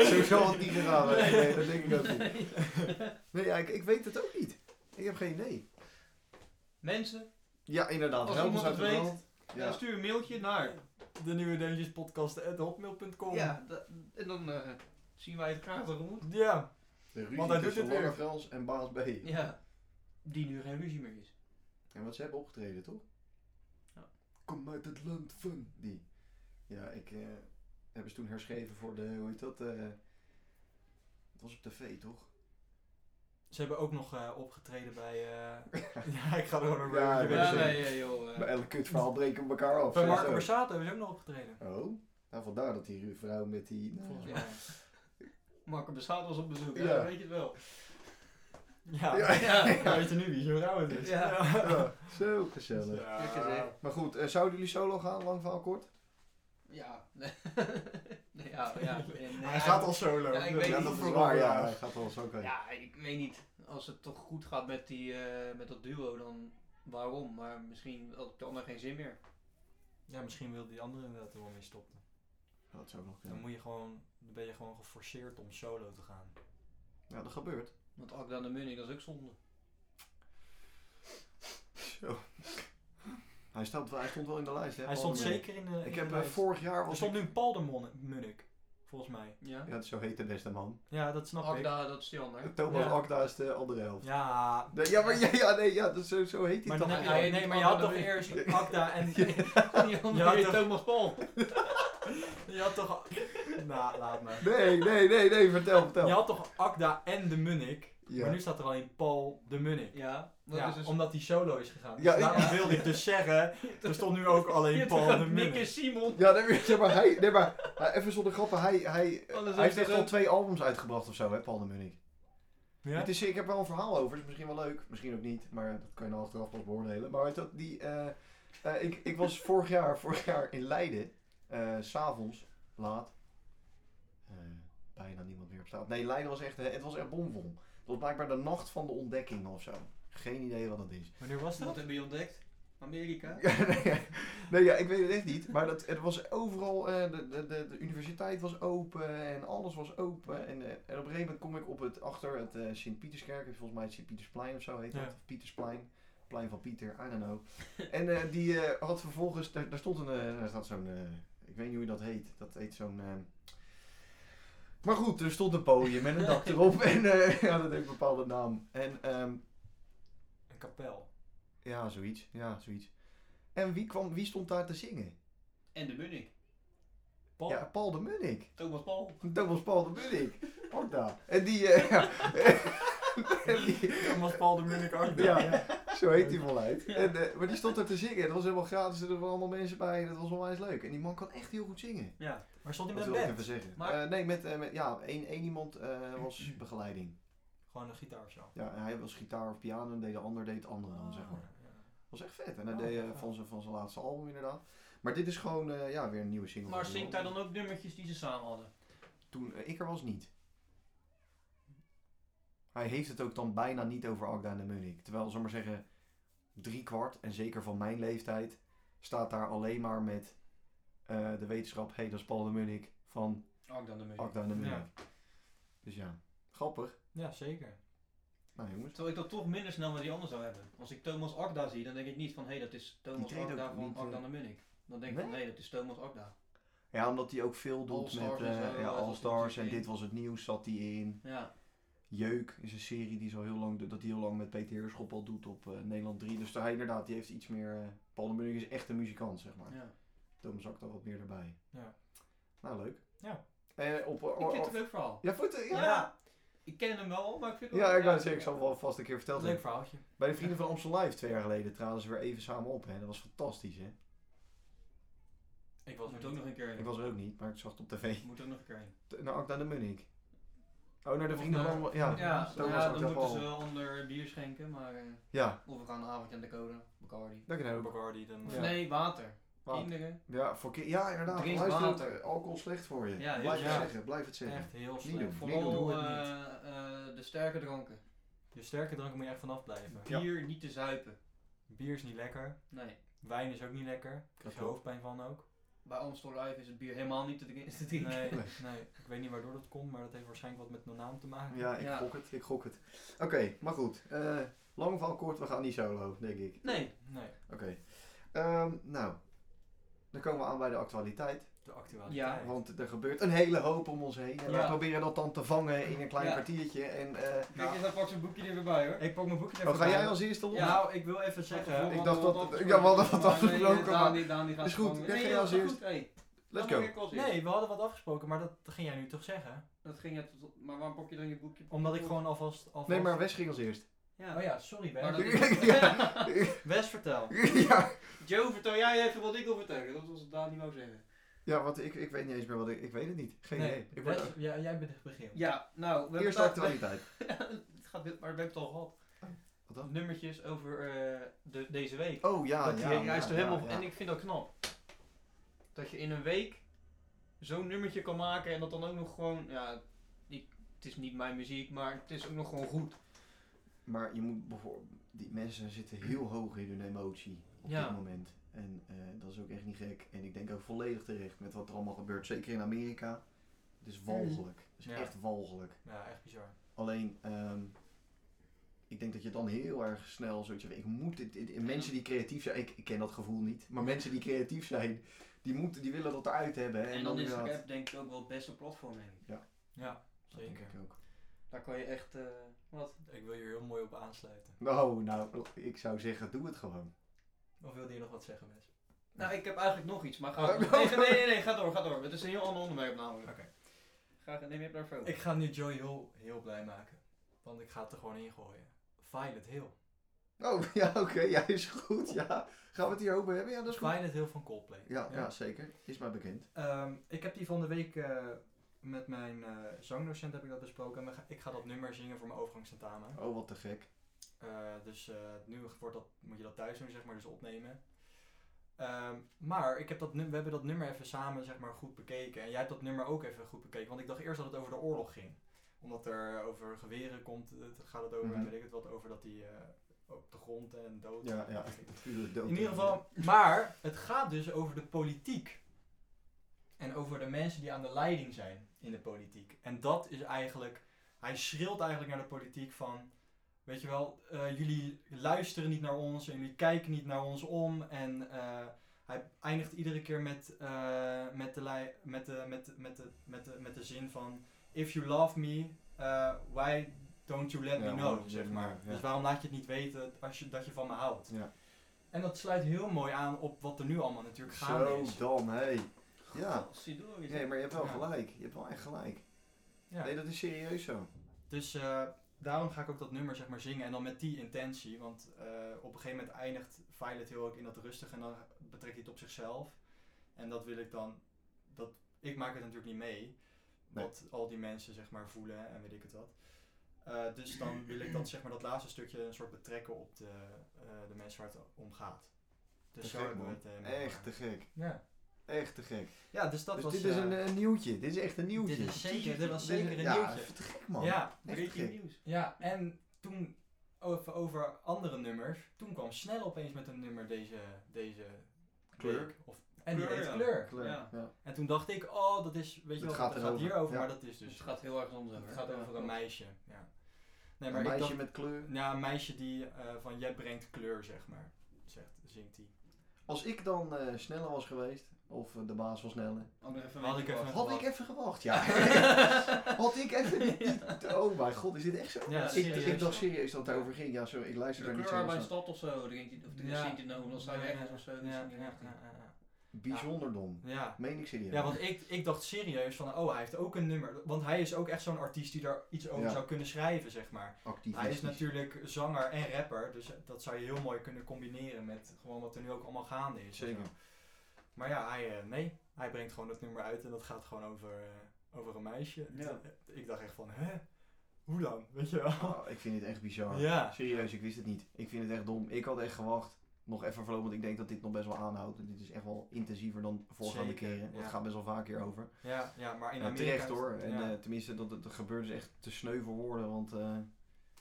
[SPEAKER 2] Zo zal het niet gegaan zijn. Nee, dat denk ik ook niet. Nee, ja, ik, ik weet het ook niet. Ik heb geen idee.
[SPEAKER 3] Mensen,
[SPEAKER 2] Ja, inderdaad.
[SPEAKER 3] Als
[SPEAKER 2] help ons
[SPEAKER 3] iemand
[SPEAKER 2] uit
[SPEAKER 3] het
[SPEAKER 2] de
[SPEAKER 3] weet,
[SPEAKER 2] brand.
[SPEAKER 3] eh,
[SPEAKER 2] Ja.
[SPEAKER 3] stuur een mailtje naar...
[SPEAKER 1] De nieuwe Deuntjes podcast at hotmail.com.
[SPEAKER 3] Ja, dat- en dan eh, zien wij het graag tegemoet.
[SPEAKER 1] Ja.
[SPEAKER 2] De ruzie
[SPEAKER 1] Want hij doet
[SPEAKER 2] tussen
[SPEAKER 1] het weer.
[SPEAKER 2] Lange Frans en Baas B.
[SPEAKER 3] Ja. Die nu geen ruzie meer is.
[SPEAKER 2] En wat ze hebben opgetreden, toch?
[SPEAKER 3] Ja.
[SPEAKER 2] Kom uit het land van die. Ja, ik eh hebben ze toen herschreven voor de, hoe heet dat? eh het was op tv, toch?
[SPEAKER 1] Ze hebben ook nog eh, opgetreden bij... eh, ja, ik ga er gewoon een
[SPEAKER 2] Ja,
[SPEAKER 1] reuntje
[SPEAKER 2] weet
[SPEAKER 3] Ja,
[SPEAKER 2] je.
[SPEAKER 3] nee, eh, joh. eh.
[SPEAKER 2] Bij elk kutverhaal breken we elkaar af.
[SPEAKER 1] Bij
[SPEAKER 2] hè,
[SPEAKER 1] Marco
[SPEAKER 2] zo.
[SPEAKER 1] Borsato hebben ze ook nog opgetreden.
[SPEAKER 2] Oh, nou vandaar dat die vrouw met die... nou,
[SPEAKER 1] Volgens
[SPEAKER 2] ja.
[SPEAKER 1] mij.
[SPEAKER 3] Marco Bessaat was op bezoek,
[SPEAKER 2] Ja.
[SPEAKER 3] ja. weet je het wel.
[SPEAKER 1] Ja.
[SPEAKER 2] Ja.
[SPEAKER 1] Ja, Weet je nu wie zo'n vrouw het is?
[SPEAKER 3] Ja.
[SPEAKER 2] Ja, Zo gezellig.
[SPEAKER 1] Ja.
[SPEAKER 3] Lekker zeg.
[SPEAKER 2] Maar goed, eh, zouden jullie solo gaan, lang verhaal kort?
[SPEAKER 3] Ja. nee, ja, ja. en, eh,
[SPEAKER 1] Hij gaat al solo.
[SPEAKER 3] Ja, ik weet
[SPEAKER 2] Ja, dat
[SPEAKER 3] niet, dat
[SPEAKER 2] is
[SPEAKER 3] is
[SPEAKER 2] waar, ja. Hij gaat wel zo oké.
[SPEAKER 3] Ja, ik weet niet. Als het toch goed gaat met, die, eh, met dat duo, dan waarom? Maar misschien had ik de ander geen zin meer.
[SPEAKER 1] Ja, misschien wil die andere inderdaad er wel mee stoppen.
[SPEAKER 2] Dat zou ook nog
[SPEAKER 1] Dan,
[SPEAKER 2] kunnen.
[SPEAKER 1] moet je gewoon, dan ben je gewoon geforceerd om solo te gaan.
[SPEAKER 2] Ja, dat gebeurt.
[SPEAKER 3] Want Akda de Munning, dat is ook zonde.
[SPEAKER 2] Zo. Hij, staat, wel- hij stond wel in de lijst, hè?
[SPEAKER 1] Hij
[SPEAKER 2] Paul
[SPEAKER 1] stond
[SPEAKER 2] de Munnik.
[SPEAKER 1] zeker in de. in
[SPEAKER 2] Ik
[SPEAKER 1] de
[SPEAKER 2] heb eh,
[SPEAKER 1] lijst.
[SPEAKER 2] vorig jaar...
[SPEAKER 1] Er
[SPEAKER 2] Was
[SPEAKER 1] stond
[SPEAKER 2] ik...
[SPEAKER 1] nu een Paul de Mon- Munnik, volgens mij.
[SPEAKER 3] Ja.
[SPEAKER 2] Ja, zo heet de beste man. Eh,
[SPEAKER 1] Ja, dat snap ik.
[SPEAKER 3] Akda, dat is die ander.
[SPEAKER 2] Thomas
[SPEAKER 1] Ja.
[SPEAKER 2] Akda is de andere helft.
[SPEAKER 1] Ja,
[SPEAKER 2] Nee, Ja, maar ja, ja, nee, ja, dat, zo, zo heet hij
[SPEAKER 1] maar
[SPEAKER 2] toch?
[SPEAKER 1] dan heb je,
[SPEAKER 3] Ja, je
[SPEAKER 1] nee,
[SPEAKER 3] hebt
[SPEAKER 1] maar je
[SPEAKER 3] Akda
[SPEAKER 1] had toch
[SPEAKER 3] weer.
[SPEAKER 1] eerst Akda en.
[SPEAKER 3] Die
[SPEAKER 1] Je
[SPEAKER 3] ander
[SPEAKER 1] had
[SPEAKER 3] heet
[SPEAKER 1] toch-
[SPEAKER 3] Thomas Paul.
[SPEAKER 1] Je had toch. Nou, laat maar.
[SPEAKER 2] Nee, nee, nee, nee, vertel, vertel.
[SPEAKER 1] Je had toch Akda en de Munnik. Maar
[SPEAKER 2] Ja.
[SPEAKER 1] nu staat er alleen Paul de Munnik.
[SPEAKER 3] Ja, dat
[SPEAKER 1] Ja,
[SPEAKER 3] is dus...
[SPEAKER 1] omdat hij solo is gegaan. Dus
[SPEAKER 2] Ja, ik-
[SPEAKER 1] daarom wilde ik dus zeggen, er stond nu ook alleen Paul de
[SPEAKER 3] Nick en
[SPEAKER 1] Munnik.
[SPEAKER 3] Simon.
[SPEAKER 2] Ja, nee, maar- maar hij, nee, maar maar even zonder grappen, hij, hij,
[SPEAKER 3] Anders
[SPEAKER 2] hij heeft
[SPEAKER 3] heeft
[SPEAKER 2] echt
[SPEAKER 3] hij
[SPEAKER 2] al
[SPEAKER 3] ook-
[SPEAKER 2] twee albums uitgebracht of zo, hè, Paul de Munnik.
[SPEAKER 1] Ja?
[SPEAKER 2] Het is, ik heb wel een verhaal over, is misschien wel leuk, misschien ook niet, maar dat kan je dan achteraf pas beoordelen. Maar weet je wat, die, eh, eh, ik, ik was vorig jaar, vorig jaar in Leiden, eh, s s'avonds, laat. Eh, bijna niemand meer op straat. Nee, Leiden was echt, eh, het was echt bomvol. Het was blijkbaar de nacht van de ontdekking of zo. Geen idee wat dat is.
[SPEAKER 1] Wanneer was
[SPEAKER 3] Wat
[SPEAKER 1] dat?
[SPEAKER 3] hebben je ontdekt? Amerika.
[SPEAKER 2] nee, nee, ja, ik weet het echt niet. Maar dat, het was overal, eh, de, de, de, de universiteit was open en alles was open. En, eh, en op een gegeven moment kom ik op het, achter het eh, Sint-Pieterskerk. Volgens mij het Sint-Pietersplein of zo heet dat.
[SPEAKER 1] Ja.
[SPEAKER 2] Of Pietersplein. Plein van Pieter, I don't know. en eh, die eh, had vervolgens, daar, daar stond een, eh, daar staat zo'n, eh, ik weet niet hoe je dat heet. Dat heet zo'n... eh, maar goed, er stond een podium met een dak erop. En eh, ja, dat heeft een bepaalde naam. En ehm,
[SPEAKER 1] Een kapel.
[SPEAKER 2] ja, zoiets. Ja, zoiets. En wie, kwam, wie stond daar te zingen?
[SPEAKER 3] En de Munnik.
[SPEAKER 1] Paul.
[SPEAKER 2] Ja, Paul de Munnik.
[SPEAKER 3] Thomas Paul.
[SPEAKER 2] Dat was Paul de Munnik. Ook daar. En die, eh, ja. En die-
[SPEAKER 1] Dan was Paul de Munnik ook
[SPEAKER 2] Ja.
[SPEAKER 1] daar. Ja.
[SPEAKER 2] zo heet hij voluit. En, eh, maar die stond daar te zingen. Dat was helemaal gratis. Er waren allemaal mensen bij. Dat was onwijs leuk. En die man kan echt heel goed zingen.
[SPEAKER 3] Ja.
[SPEAKER 1] Maar stond hij
[SPEAKER 2] Dat
[SPEAKER 1] met een
[SPEAKER 2] wil ik
[SPEAKER 1] band?
[SPEAKER 2] even zeggen.
[SPEAKER 3] Maar-
[SPEAKER 2] Eh, nee, met, eh, met ja, één, één iemand eh, was begeleiding.
[SPEAKER 1] Gewoon een gitaar of zo.
[SPEAKER 2] Ja, en hij was gitaar of piano en deed de ander deed het andere dan, zeg maar. was echt vet. En hij
[SPEAKER 1] Ah. Oh,
[SPEAKER 2] deed eh,
[SPEAKER 1] ja.
[SPEAKER 2] van, zijn, van zijn laatste album inderdaad. Maar dit is gewoon eh, ja, weer een nieuwe single.
[SPEAKER 3] Maar
[SPEAKER 2] van
[SPEAKER 3] zingt
[SPEAKER 2] hem.
[SPEAKER 3] hij dan ook nummertjes die ze samen hadden?
[SPEAKER 2] Toen eh, ik er was niet. Hij heeft het ook dan bijna niet over Agda en de Munich. Terwijl, zal maar zeggen, drie kwart, en zeker van mijn leeftijd, staat daar alleen maar met eh, de wetenschap, hé, hey, dat is Paul de Munich van
[SPEAKER 3] Ook dan de Munnik.
[SPEAKER 2] Agda en de Munich.
[SPEAKER 1] Ja.
[SPEAKER 2] Dus ja, grappig.
[SPEAKER 1] Ja, zeker.
[SPEAKER 2] Nou jongens,
[SPEAKER 3] Terwijl ik dat toch minder snel met die ander zou hebben. Als ik Thomas Akda zie, dan denk ik niet van hé, hey, dat is Thomas
[SPEAKER 2] treedt
[SPEAKER 3] Akda
[SPEAKER 2] ook
[SPEAKER 3] van
[SPEAKER 2] niet, eh,
[SPEAKER 3] Akda de Munnik. Dan denk ik van hé, hey, dat is Thomas Akda.
[SPEAKER 2] ja, omdat hij ook veel doet
[SPEAKER 3] All-Stars
[SPEAKER 2] met eh,
[SPEAKER 3] en zo,
[SPEAKER 2] ja,
[SPEAKER 3] eh,
[SPEAKER 2] All
[SPEAKER 3] zat hij
[SPEAKER 2] Stars en
[SPEAKER 3] in.
[SPEAKER 2] Dit Was Het Nieuws zat hij in.
[SPEAKER 3] Ja.
[SPEAKER 2] Jeuk is een serie die, zo heel, lang, dat hij heel lang met Peter Heerschop al doet op eh, Nederland 3. Dus hij inderdaad, die heeft iets meer... eh, Paul de Munich is echt een muzikant, zeg maar.
[SPEAKER 3] ja.
[SPEAKER 2] Tom zakt er wat meer erbij.
[SPEAKER 1] Ja.
[SPEAKER 2] Nou, leuk.
[SPEAKER 1] Ja.
[SPEAKER 2] Eh, op,
[SPEAKER 3] Ik vind het een leuk verhaal.
[SPEAKER 2] ja, voeten? Ja. Ja,
[SPEAKER 3] Ja. Ik ken hem wel, maar ik vind
[SPEAKER 2] ik wou zeggen, ik zal het wel vast een keer verteld
[SPEAKER 1] Leuk
[SPEAKER 2] hebben.
[SPEAKER 1] verhaaltje.
[SPEAKER 2] Bij de Vrienden van Amstel Live twee jaar geleden traden ze weer even samen op. Hè. Dat was fantastisch, hè?
[SPEAKER 1] Ik was
[SPEAKER 3] moet ook nog een keer heen.
[SPEAKER 2] Ik was er ook niet, maar ik zag het op tv.
[SPEAKER 3] Moet ook nog een keer heen.
[SPEAKER 2] T- nou, Naar Acta de Munnik. Oh, naar de
[SPEAKER 3] Of
[SPEAKER 2] vrienden
[SPEAKER 3] naar-
[SPEAKER 2] van... Ja,
[SPEAKER 3] Ja,
[SPEAKER 2] Thomas
[SPEAKER 3] nou ja,
[SPEAKER 2] Acta
[SPEAKER 3] dan moeten
[SPEAKER 2] Paul.
[SPEAKER 3] ze wel ander bier schenken, maar... eh,
[SPEAKER 2] Ja,
[SPEAKER 3] of we gaan een avondje aan de code, Bacardi.
[SPEAKER 2] dat kan
[SPEAKER 1] Ja,
[SPEAKER 2] ook.
[SPEAKER 1] Bacardi, dan...
[SPEAKER 3] Of
[SPEAKER 2] Ja.
[SPEAKER 3] nee, water.
[SPEAKER 2] Water.
[SPEAKER 3] Kinderen.
[SPEAKER 2] Ja, voor ki- ja inderdaad.
[SPEAKER 3] Drink
[SPEAKER 2] Luister,
[SPEAKER 3] water.
[SPEAKER 2] alcohol is slecht voor je.
[SPEAKER 3] Ja, heel
[SPEAKER 2] blijf het
[SPEAKER 1] slecht.
[SPEAKER 2] zeggen, blijf het zeggen.
[SPEAKER 1] Echt heel
[SPEAKER 2] Niet doen.
[SPEAKER 1] slecht.
[SPEAKER 2] Niet doen.
[SPEAKER 3] Vooral
[SPEAKER 1] Doe het niet.
[SPEAKER 3] eh, eh, de sterke dranken.
[SPEAKER 1] Je sterke drank moet je echt vanaf blijven.
[SPEAKER 2] Ja.
[SPEAKER 3] Bier niet te zuipen.
[SPEAKER 1] Bier is niet lekker.
[SPEAKER 3] Nee.
[SPEAKER 1] Wijn is ook niet lekker. Daar krijg je
[SPEAKER 2] klopt.
[SPEAKER 1] hoofdpijn van ook.
[SPEAKER 3] Bij Amstel Live is het bier helemaal niet te drinken. te
[SPEAKER 1] Nee,
[SPEAKER 3] drinken.
[SPEAKER 1] nee. ik weet niet waardoor dat komt, maar dat heeft waarschijnlijk wat met mijn naam te maken.
[SPEAKER 2] Ja, ik
[SPEAKER 3] Ja.
[SPEAKER 2] gok het, ik gok het. Oké, maar goed. Eh, lang van kort, we gaan niet solo, denk ik.
[SPEAKER 3] Nee.
[SPEAKER 1] Nee,
[SPEAKER 2] Oké. Ehm, nou, dan komen we aan bij de actualiteit.
[SPEAKER 1] de actualiteit.
[SPEAKER 3] Ja,
[SPEAKER 2] Want er gebeurt een hele hoop om ons heen. En
[SPEAKER 3] Ja.
[SPEAKER 2] wij proberen dat dan te vangen in een klein
[SPEAKER 3] Ja. Nou,
[SPEAKER 2] kwartiertje. En, eh,
[SPEAKER 3] Kijk eens, dan pak zijn boekje er weer bij hoor.
[SPEAKER 1] Ik pak mijn boekje
[SPEAKER 2] oh,
[SPEAKER 1] even
[SPEAKER 2] ga jij
[SPEAKER 1] bij.
[SPEAKER 2] als eerste los?
[SPEAKER 3] Ja.
[SPEAKER 1] Nou, ik wil even zeggen...
[SPEAKER 2] Ik dacht dat- ja, we hadden wat afgesproken, maar-
[SPEAKER 3] Daan, Daan, die gaat
[SPEAKER 2] Is goed,
[SPEAKER 3] gewoon-
[SPEAKER 2] jij
[SPEAKER 3] Nee,
[SPEAKER 2] ging
[SPEAKER 3] joh,
[SPEAKER 2] als
[SPEAKER 3] dat is
[SPEAKER 2] eerst.
[SPEAKER 3] goed, hey.
[SPEAKER 2] Let's
[SPEAKER 3] Laat maar
[SPEAKER 2] go.
[SPEAKER 3] weer als eerst.
[SPEAKER 1] Nee, we hadden wat afgesproken, maar dat ging jij nu toch zeggen?
[SPEAKER 3] Dat ging het, tot- maar waarom pak je dan je boekje?
[SPEAKER 1] Omdat ik gewoon alvast... alvast...
[SPEAKER 2] Nee, maar Wes ging als eerst.
[SPEAKER 3] Ja.
[SPEAKER 1] Oh ja, sorry
[SPEAKER 3] Maar
[SPEAKER 1] Wes.
[SPEAKER 3] dat-
[SPEAKER 2] ja.
[SPEAKER 1] Wes, vertel.
[SPEAKER 2] ja.
[SPEAKER 3] Joe, vertel jij even wat ik wil vertellen. Dat was het Daan niet wou zeggen.
[SPEAKER 2] ja, want ik, ik weet niet eens meer wat ik... Ik weet het niet. Geen
[SPEAKER 1] Nee,
[SPEAKER 2] idee. Ik word,
[SPEAKER 1] Wes, ja, jij bent het begin.
[SPEAKER 3] Ja, nou, we
[SPEAKER 2] eerste
[SPEAKER 3] hebben het-
[SPEAKER 2] actualiteit.
[SPEAKER 3] het gaat dit, maar we hebben het al gehad.
[SPEAKER 2] Wat dan?
[SPEAKER 3] Nummertjes over eh, de, deze week.
[SPEAKER 2] Oh ja,
[SPEAKER 3] dat
[SPEAKER 2] ja,
[SPEAKER 3] je,
[SPEAKER 2] ja,
[SPEAKER 3] hij is er
[SPEAKER 2] ja,
[SPEAKER 3] helemaal,
[SPEAKER 2] ja.
[SPEAKER 3] En ik vind dat knap. Dat je in een week zo'n nummertje kan maken en dat dan ook nog gewoon. Ja, ik, het is niet mijn muziek, maar het is ook nog gewoon goed.
[SPEAKER 2] Maar je moet bijvoorbeeld, die mensen zitten heel hoog in hun emotie op
[SPEAKER 3] Ja.
[SPEAKER 2] dit moment. En eh, dat is ook echt niet gek. En ik denk ook volledig terecht met wat er allemaal gebeurt. Zeker in Amerika. Het is walgelijk. Het is
[SPEAKER 1] Ja.
[SPEAKER 2] echt walgelijk.
[SPEAKER 1] Ja, echt bizar.
[SPEAKER 2] Alleen, ehm, ik denk dat je dan heel erg snel zoiets hebt. Ik moet dit, dit- mensen die creatief zijn, ik, ik ken dat gevoel niet. Maar mensen die creatief zijn, die, moeten, die willen dat eruit hebben. En,
[SPEAKER 3] En, dan is
[SPEAKER 2] inderdaad-
[SPEAKER 3] rap denk ik ook wel het beste platform. Denk ik.
[SPEAKER 1] Ja,
[SPEAKER 2] Dat denk
[SPEAKER 1] zeker.
[SPEAKER 2] ik ook.
[SPEAKER 3] Daar kan je echt. eh, wat?
[SPEAKER 1] Ik wil hier heel mooi op aansluiten.
[SPEAKER 2] Nou, nou, ik zou zeggen, doe het gewoon.
[SPEAKER 1] Of wilde je nog wat zeggen, Wes?
[SPEAKER 3] Nou, ik heb eigenlijk nog iets, maar ga
[SPEAKER 2] Oh,
[SPEAKER 3] door.
[SPEAKER 2] no.
[SPEAKER 3] Nee, nee, nee, nee, ga door, ga door. Het is een heel ander onderwerp namelijk.
[SPEAKER 1] Oké.
[SPEAKER 3] Ga, neem je hebt daarvoor.
[SPEAKER 1] Ik ga nu Joy heel, heel blij maken. Want ik ga het er gewoon in gooien. Violet Hill.
[SPEAKER 2] Oh, ja, oké. Ja, is goed. Ja. Gaan we het hier over hebben? Ja, dat is goed.
[SPEAKER 1] Violet Hill van Coldplay.
[SPEAKER 2] Ja, ja. zeker. Is mij bekend.
[SPEAKER 1] Ehm, ik heb die van de week eh, met mijn eh, zangdocent heb ik dat besproken. En we ga- ik ga dat nummer zingen voor mijn overgangsentamen.
[SPEAKER 2] Oh, wat te gek.
[SPEAKER 1] Eh, dus eh, nu wordt dat, moet je dat thuis doen, zeg maar, dus opnemen. Ehm, maar ik heb dat, nu- we hebben dat nummer even samen zeg maar, goed bekeken. En jij hebt dat nummer ook even goed bekeken. Want ik dacht eerst dat het over de oorlog ging. Omdat er eh, over geweren komt, het gaat het over,
[SPEAKER 2] Mhm.
[SPEAKER 1] weet ik het wat, over dat die eh, op de grond en dood.
[SPEAKER 2] Ja, ja. Pure dood.
[SPEAKER 1] In ieder geval, maar het gaat dus over de politiek. En over de mensen die aan de leiding zijn in de politiek. En dat is eigenlijk, hij schreeuwt eigenlijk naar de politiek van, weet je wel, eh, jullie luisteren niet naar ons en jullie kijken niet naar ons om. En eh, hij eindigt iedere keer met, eh, met, de, lei- met, de, met, de- met, de, met, de, met de zin van, if you love me, eh, why don't you let
[SPEAKER 2] Ja,
[SPEAKER 1] me know,
[SPEAKER 2] why
[SPEAKER 1] zeg
[SPEAKER 2] don't you let me
[SPEAKER 1] maar.
[SPEAKER 2] know, ja.
[SPEAKER 1] Dus waarom laat je het niet weten als je, dat je van me houdt?
[SPEAKER 2] Ja.
[SPEAKER 1] En dat sluit heel mooi aan op wat er nu allemaal natuurlijk gaande
[SPEAKER 2] Zo
[SPEAKER 1] is.
[SPEAKER 2] dan, hé. Ja.
[SPEAKER 3] Sidori.
[SPEAKER 2] Nee, maar je hebt wel
[SPEAKER 1] Ja.
[SPEAKER 2] gelijk. Je hebt wel echt gelijk.
[SPEAKER 1] Ja.
[SPEAKER 2] Nee, dat is serieus zo.
[SPEAKER 1] Dus eh, daarom ga ik ook dat nummer zeg maar zingen en dan met die intentie. Want eh, op een gegeven moment eindigt Violet heel ook in dat rustig en dan betrekt hij het op zichzelf. En dat wil ik dan, dat, ik maak het natuurlijk niet mee.
[SPEAKER 2] Nee.
[SPEAKER 1] Wat al die mensen zeg maar voelen en weet ik het wat. Eh, dus dan wil ik dat, zeg maar, dat laatste stukje een soort betrekken op de, eh, de mensen waar het om gaat.
[SPEAKER 2] Te
[SPEAKER 1] Dus zo
[SPEAKER 2] gek,
[SPEAKER 1] hebben we
[SPEAKER 2] man.
[SPEAKER 1] het. eh, met
[SPEAKER 2] Echt te
[SPEAKER 1] elkaar.
[SPEAKER 2] gek.
[SPEAKER 1] Ja.
[SPEAKER 2] Echt te gek.
[SPEAKER 1] ja, dus dat
[SPEAKER 2] dus
[SPEAKER 1] was...
[SPEAKER 2] dit is
[SPEAKER 1] eh,
[SPEAKER 2] een, eh, nieuwtje. Dit is echt een nieuwtje.
[SPEAKER 1] Dit is zeker, dit was
[SPEAKER 2] Dit is-
[SPEAKER 1] zeker een
[SPEAKER 2] ja,
[SPEAKER 1] nieuwtje.
[SPEAKER 2] even te gek, eh, man.
[SPEAKER 1] Ja,
[SPEAKER 3] Breaking nieuws.
[SPEAKER 1] Ja, en toen over, over andere nummers, toen kwam Snel opeens met een nummer deze, deze
[SPEAKER 2] Kleur.
[SPEAKER 1] week. Of, en die
[SPEAKER 3] Kleur,
[SPEAKER 1] heet
[SPEAKER 3] ja.
[SPEAKER 1] kleur.
[SPEAKER 2] Kleur,
[SPEAKER 3] Ja.
[SPEAKER 2] ja.
[SPEAKER 1] En toen dacht ik, oh, dat is, weet je
[SPEAKER 2] Het
[SPEAKER 1] wel,
[SPEAKER 2] gaat
[SPEAKER 1] het gaat
[SPEAKER 2] erover,
[SPEAKER 1] hierover,
[SPEAKER 2] ja.
[SPEAKER 1] maar dat is dus,
[SPEAKER 3] Dus het gaat heel erg anders over. Oh,
[SPEAKER 1] het gaat over een meisje. Ja. Nee, maar
[SPEAKER 2] een meisje
[SPEAKER 1] ik dacht,
[SPEAKER 2] met kleur.
[SPEAKER 1] ja, een meisje die eh, van, jij brengt kleur, zeg maar, zegt, zingt die.
[SPEAKER 2] Als ik dan eh, sneller was geweest, of eh, de baas was sneller,
[SPEAKER 3] Ander oh, even
[SPEAKER 1] Had
[SPEAKER 3] een
[SPEAKER 1] ik even
[SPEAKER 3] beetje
[SPEAKER 1] een-
[SPEAKER 2] had ik even gewacht. Ja. had ik even niet- niet... Oh mijn god, is dit echt zo?
[SPEAKER 1] Ja,
[SPEAKER 2] Ik,
[SPEAKER 1] serieus.
[SPEAKER 2] ik dacht serieus dat het daarover ging. Ja, sorry, ik
[SPEAKER 3] De
[SPEAKER 2] luister daar niet zo
[SPEAKER 3] kleur bij
[SPEAKER 2] heel
[SPEAKER 3] een
[SPEAKER 2] snel.
[SPEAKER 3] stad of zo, drinkt hij, of
[SPEAKER 1] Ja.
[SPEAKER 3] zingt hij nou, dan sta je
[SPEAKER 1] Ja,
[SPEAKER 3] ergens of zo.
[SPEAKER 1] Ja,
[SPEAKER 3] dan
[SPEAKER 1] ja,
[SPEAKER 3] zingt hij
[SPEAKER 1] ja,
[SPEAKER 3] echt.
[SPEAKER 1] ja, ja.
[SPEAKER 2] Bijzonder dom.
[SPEAKER 1] ja.
[SPEAKER 2] Meen ik serieus.
[SPEAKER 1] Ja, want ik, ik dacht serieus van, oh, hij heeft ook een nummer. Want hij is ook echt zo'n artiest die daar iets over
[SPEAKER 2] Ja.
[SPEAKER 1] zou kunnen schrijven, zeg maar.
[SPEAKER 2] Actief
[SPEAKER 1] Hij is natuurlijk zanger en rapper, dus dat zou je heel mooi kunnen combineren met gewoon wat er nu ook allemaal gaande is.
[SPEAKER 2] Zeker.
[SPEAKER 1] Maar ja, hij, eh, nee, hij brengt gewoon dat nummer uit en dat gaat gewoon over, eh, over een meisje. eh,
[SPEAKER 3] Ja.
[SPEAKER 1] Ik dacht echt van, hè? Hoe dan? Weet je wel?
[SPEAKER 2] Oh, ik vind dit echt bizar.
[SPEAKER 1] Ja.
[SPEAKER 2] Serieus, ik wist het niet. Ik vind het echt dom. Ik had echt gewacht. Nog even voorlopig, want ik denk dat dit nog best wel aanhoudt. Dit is echt wel intensiever dan voorgaande
[SPEAKER 1] Zeker,
[SPEAKER 2] keren. Want
[SPEAKER 1] ja.
[SPEAKER 2] het gaat best wel vaak hier over.
[SPEAKER 1] Ja, ja, maar in
[SPEAKER 2] Ja,
[SPEAKER 1] Amerika...
[SPEAKER 2] terecht
[SPEAKER 1] is-
[SPEAKER 2] hoor. En,
[SPEAKER 1] ja.
[SPEAKER 2] eh, tenminste, dat, dat, dat gebeurt dus echt te sneu voor woorden. Want, eh,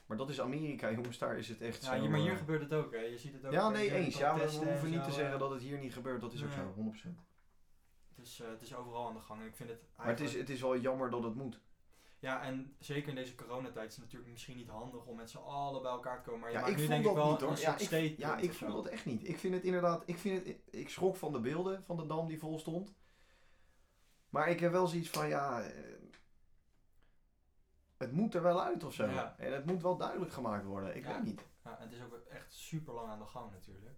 [SPEAKER 2] maar dat is Amerika, jongens. Daar is het echt
[SPEAKER 1] ja,
[SPEAKER 2] zo...
[SPEAKER 1] hier- maar hier
[SPEAKER 2] eh,
[SPEAKER 1] gebeurt het ook, hè? Je ziet het ook.
[SPEAKER 2] Ja,
[SPEAKER 1] bij
[SPEAKER 2] nee,
[SPEAKER 1] de
[SPEAKER 2] eens. Ja, we
[SPEAKER 1] protesten en
[SPEAKER 2] hoeven niet
[SPEAKER 1] zo,
[SPEAKER 2] te
[SPEAKER 1] eh.
[SPEAKER 2] zeggen dat het hier niet gebeurt. Dat is ook
[SPEAKER 1] Nee.
[SPEAKER 2] zo, 100%.
[SPEAKER 1] Het is, eh, het is overal aan de gang. En ik vind het
[SPEAKER 2] Maar het is,
[SPEAKER 1] eigenlijk-
[SPEAKER 2] het is wel jammer dat het moet.
[SPEAKER 1] Ja, en zeker in deze coronatijd is het natuurlijk misschien niet handig om met z'n allen bij elkaar te komen. Maar je
[SPEAKER 2] Ja,
[SPEAKER 1] maakt
[SPEAKER 2] ik
[SPEAKER 1] nu
[SPEAKER 2] voel
[SPEAKER 1] denk ik
[SPEAKER 2] dat
[SPEAKER 1] wel
[SPEAKER 2] niet, hoor.
[SPEAKER 1] een
[SPEAKER 2] Ja,
[SPEAKER 1] soort
[SPEAKER 2] ik-
[SPEAKER 1] statement
[SPEAKER 2] Ja, ik
[SPEAKER 1] of
[SPEAKER 2] voel
[SPEAKER 1] zo.
[SPEAKER 2] dat e- echt niet. Ik vind het inderdaad... Ik, vind het, ik schrok van de beelden van de dam die vol stond. Maar ik heb wel zoiets van, ja... eh, Het moet er wel uit of zo.
[SPEAKER 1] Ja.
[SPEAKER 2] En het moet wel duidelijk gemaakt worden. Ik
[SPEAKER 1] Ja.
[SPEAKER 2] weet niet.
[SPEAKER 1] Ja, het is ook echt super lang aan de gang natuurlijk.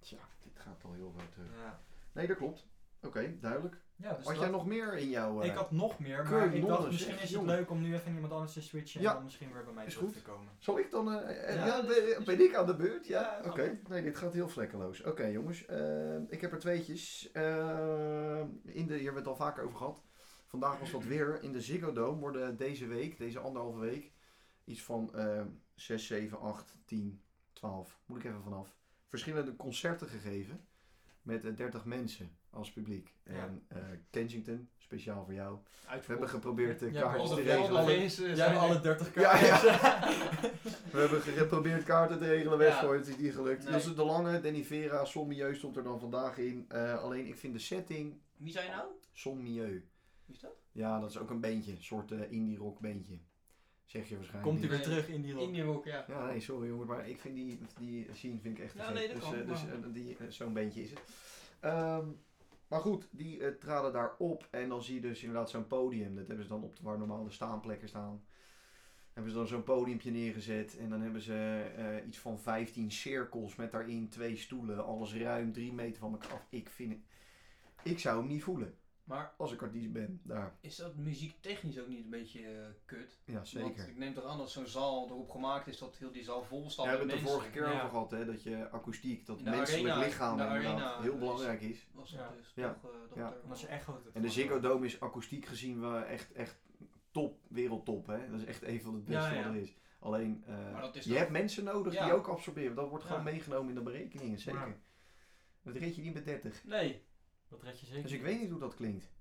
[SPEAKER 2] Tja, dit gaat al heel ver terug.
[SPEAKER 1] Ja,
[SPEAKER 2] Nee, dat klopt. Oké, duidelijk.
[SPEAKER 1] ja dus
[SPEAKER 2] Had
[SPEAKER 1] dat-
[SPEAKER 2] jij nog meer in jouw... eh,
[SPEAKER 1] Ik had nog meer, maar
[SPEAKER 2] Keurig
[SPEAKER 1] ik dacht
[SPEAKER 2] Londen,
[SPEAKER 1] misschien
[SPEAKER 2] zeg,
[SPEAKER 1] is het
[SPEAKER 2] jongen.
[SPEAKER 1] leuk om nu even iemand anders te switchen
[SPEAKER 2] Ja.
[SPEAKER 1] en dan misschien weer bij mij
[SPEAKER 2] Is
[SPEAKER 1] terug
[SPEAKER 2] goed.
[SPEAKER 1] te komen.
[SPEAKER 2] Zal ik dan... eh, eh,
[SPEAKER 1] Ja,
[SPEAKER 2] ja,
[SPEAKER 1] dat
[SPEAKER 2] ben,
[SPEAKER 1] is-
[SPEAKER 2] ben ik aan de beurt? Ja,
[SPEAKER 1] Ja,
[SPEAKER 2] oké.
[SPEAKER 1] dat
[SPEAKER 2] Nee, dit gaat heel vlekkeloos. Oké, jongens. eh, ik heb er tweetjes. Eh, in de, hier hebben we het al vaker over gehad. Vandaag was dat weer. In de Ziggo Dome worden deze week, deze anderhalve week, iets van eh 6, 7, 8, 10, 12, moet ik even vanaf, verschillende concerten gegeven met eh, 30 mensen als publiek.
[SPEAKER 1] Ja.
[SPEAKER 2] En eh, Kensington, speciaal voor jou. We hebben
[SPEAKER 5] Uitverkocht.
[SPEAKER 2] geprobeerd de
[SPEAKER 1] Ja,
[SPEAKER 2] kaartjes
[SPEAKER 1] alle-
[SPEAKER 2] te
[SPEAKER 1] alle-
[SPEAKER 2] regelen.
[SPEAKER 1] alle-
[SPEAKER 5] Jij
[SPEAKER 1] Jij hebt alle 30
[SPEAKER 2] Ja,
[SPEAKER 1] kaartjes.
[SPEAKER 2] We hebben geprobeerd kaarten te regelen,
[SPEAKER 3] Ja.
[SPEAKER 2] Westfoy, het is niet gelukt.
[SPEAKER 3] Nee.
[SPEAKER 2] Dat is de lange, Danny Vera, Son Milieu stond er dan vandaag in. Eh, alleen ik vind de setting
[SPEAKER 3] Wie zijn nou?
[SPEAKER 2] Son Milieu.
[SPEAKER 3] Wie is dat?
[SPEAKER 2] Ja, dat is ook een beentje, een soort eh, indie rock beentje. Zeg je waarschijnlijk.
[SPEAKER 1] Komt hij weer
[SPEAKER 3] Nee.
[SPEAKER 1] terug in die rol.
[SPEAKER 3] Indie Rock, ja.
[SPEAKER 2] Ja, nee, sorry jongens, maar ik vind die, die scene vind ik echt te
[SPEAKER 3] Ja,
[SPEAKER 2] gek.
[SPEAKER 3] nee, dat
[SPEAKER 2] dus,
[SPEAKER 3] kan,
[SPEAKER 2] eh, dus
[SPEAKER 3] maar-
[SPEAKER 2] eh, die, eh, zo'n beentje is het. Ehm, maar goed, die eh, traden daar op en dan zie je dus inderdaad zo'n podium. Dat hebben ze dan op de- waar normale staanplekken staan. Hebben ze dan zo'n podiumpje neergezet en dan hebben ze eh, iets van 15 cirkels met daarin twee stoelen. Alles ruim drie meter van elkaar af. Ik vind het... Ik zou hem niet voelen
[SPEAKER 3] Maar
[SPEAKER 2] als ik artiest ben. Daar.
[SPEAKER 3] is dat muziektechnisch ook niet een beetje eh, kut?
[SPEAKER 2] Ja,
[SPEAKER 3] Want
[SPEAKER 2] zeker.
[SPEAKER 3] ik neem toch aan dat zo'n zaal erop gemaakt is dat heel die zaal vol
[SPEAKER 2] We
[SPEAKER 3] staat met
[SPEAKER 2] hebben het de
[SPEAKER 3] mensen.
[SPEAKER 2] vorige keer
[SPEAKER 1] ja.
[SPEAKER 2] over gehad, hè, dat je akoestiek, dat
[SPEAKER 3] In de
[SPEAKER 2] menselijk
[SPEAKER 3] arena,
[SPEAKER 2] lichaam
[SPEAKER 3] in de
[SPEAKER 2] inderdaad
[SPEAKER 3] arena
[SPEAKER 2] heel
[SPEAKER 3] is-
[SPEAKER 2] belangrijk is.
[SPEAKER 3] Was
[SPEAKER 1] Ja.
[SPEAKER 3] dat dus
[SPEAKER 2] Ja.
[SPEAKER 3] toch eh, dat
[SPEAKER 2] Ja.
[SPEAKER 3] er...
[SPEAKER 1] Omdat je echt goed
[SPEAKER 2] En de Ziggo Dome is akoestiek gezien wel echt, echt top, wereldtop. Hè? Dat is echt een van de beste
[SPEAKER 1] Ja, ja.
[SPEAKER 2] wat er is. Alleen, eh,
[SPEAKER 3] Maar dat is
[SPEAKER 2] je
[SPEAKER 3] toch-
[SPEAKER 2] hebt mensen nodig
[SPEAKER 3] Ja.
[SPEAKER 2] die ook absorberen. Dat wordt gewoon
[SPEAKER 1] Ja.
[SPEAKER 2] meegenomen in de berekeningen, zeker.
[SPEAKER 1] Ja.
[SPEAKER 2] Dat red je niet met 30.
[SPEAKER 3] Nee.
[SPEAKER 1] Dat red je zeker.
[SPEAKER 2] Dus ik weet niet hoe dat klinkt.
[SPEAKER 1] Ik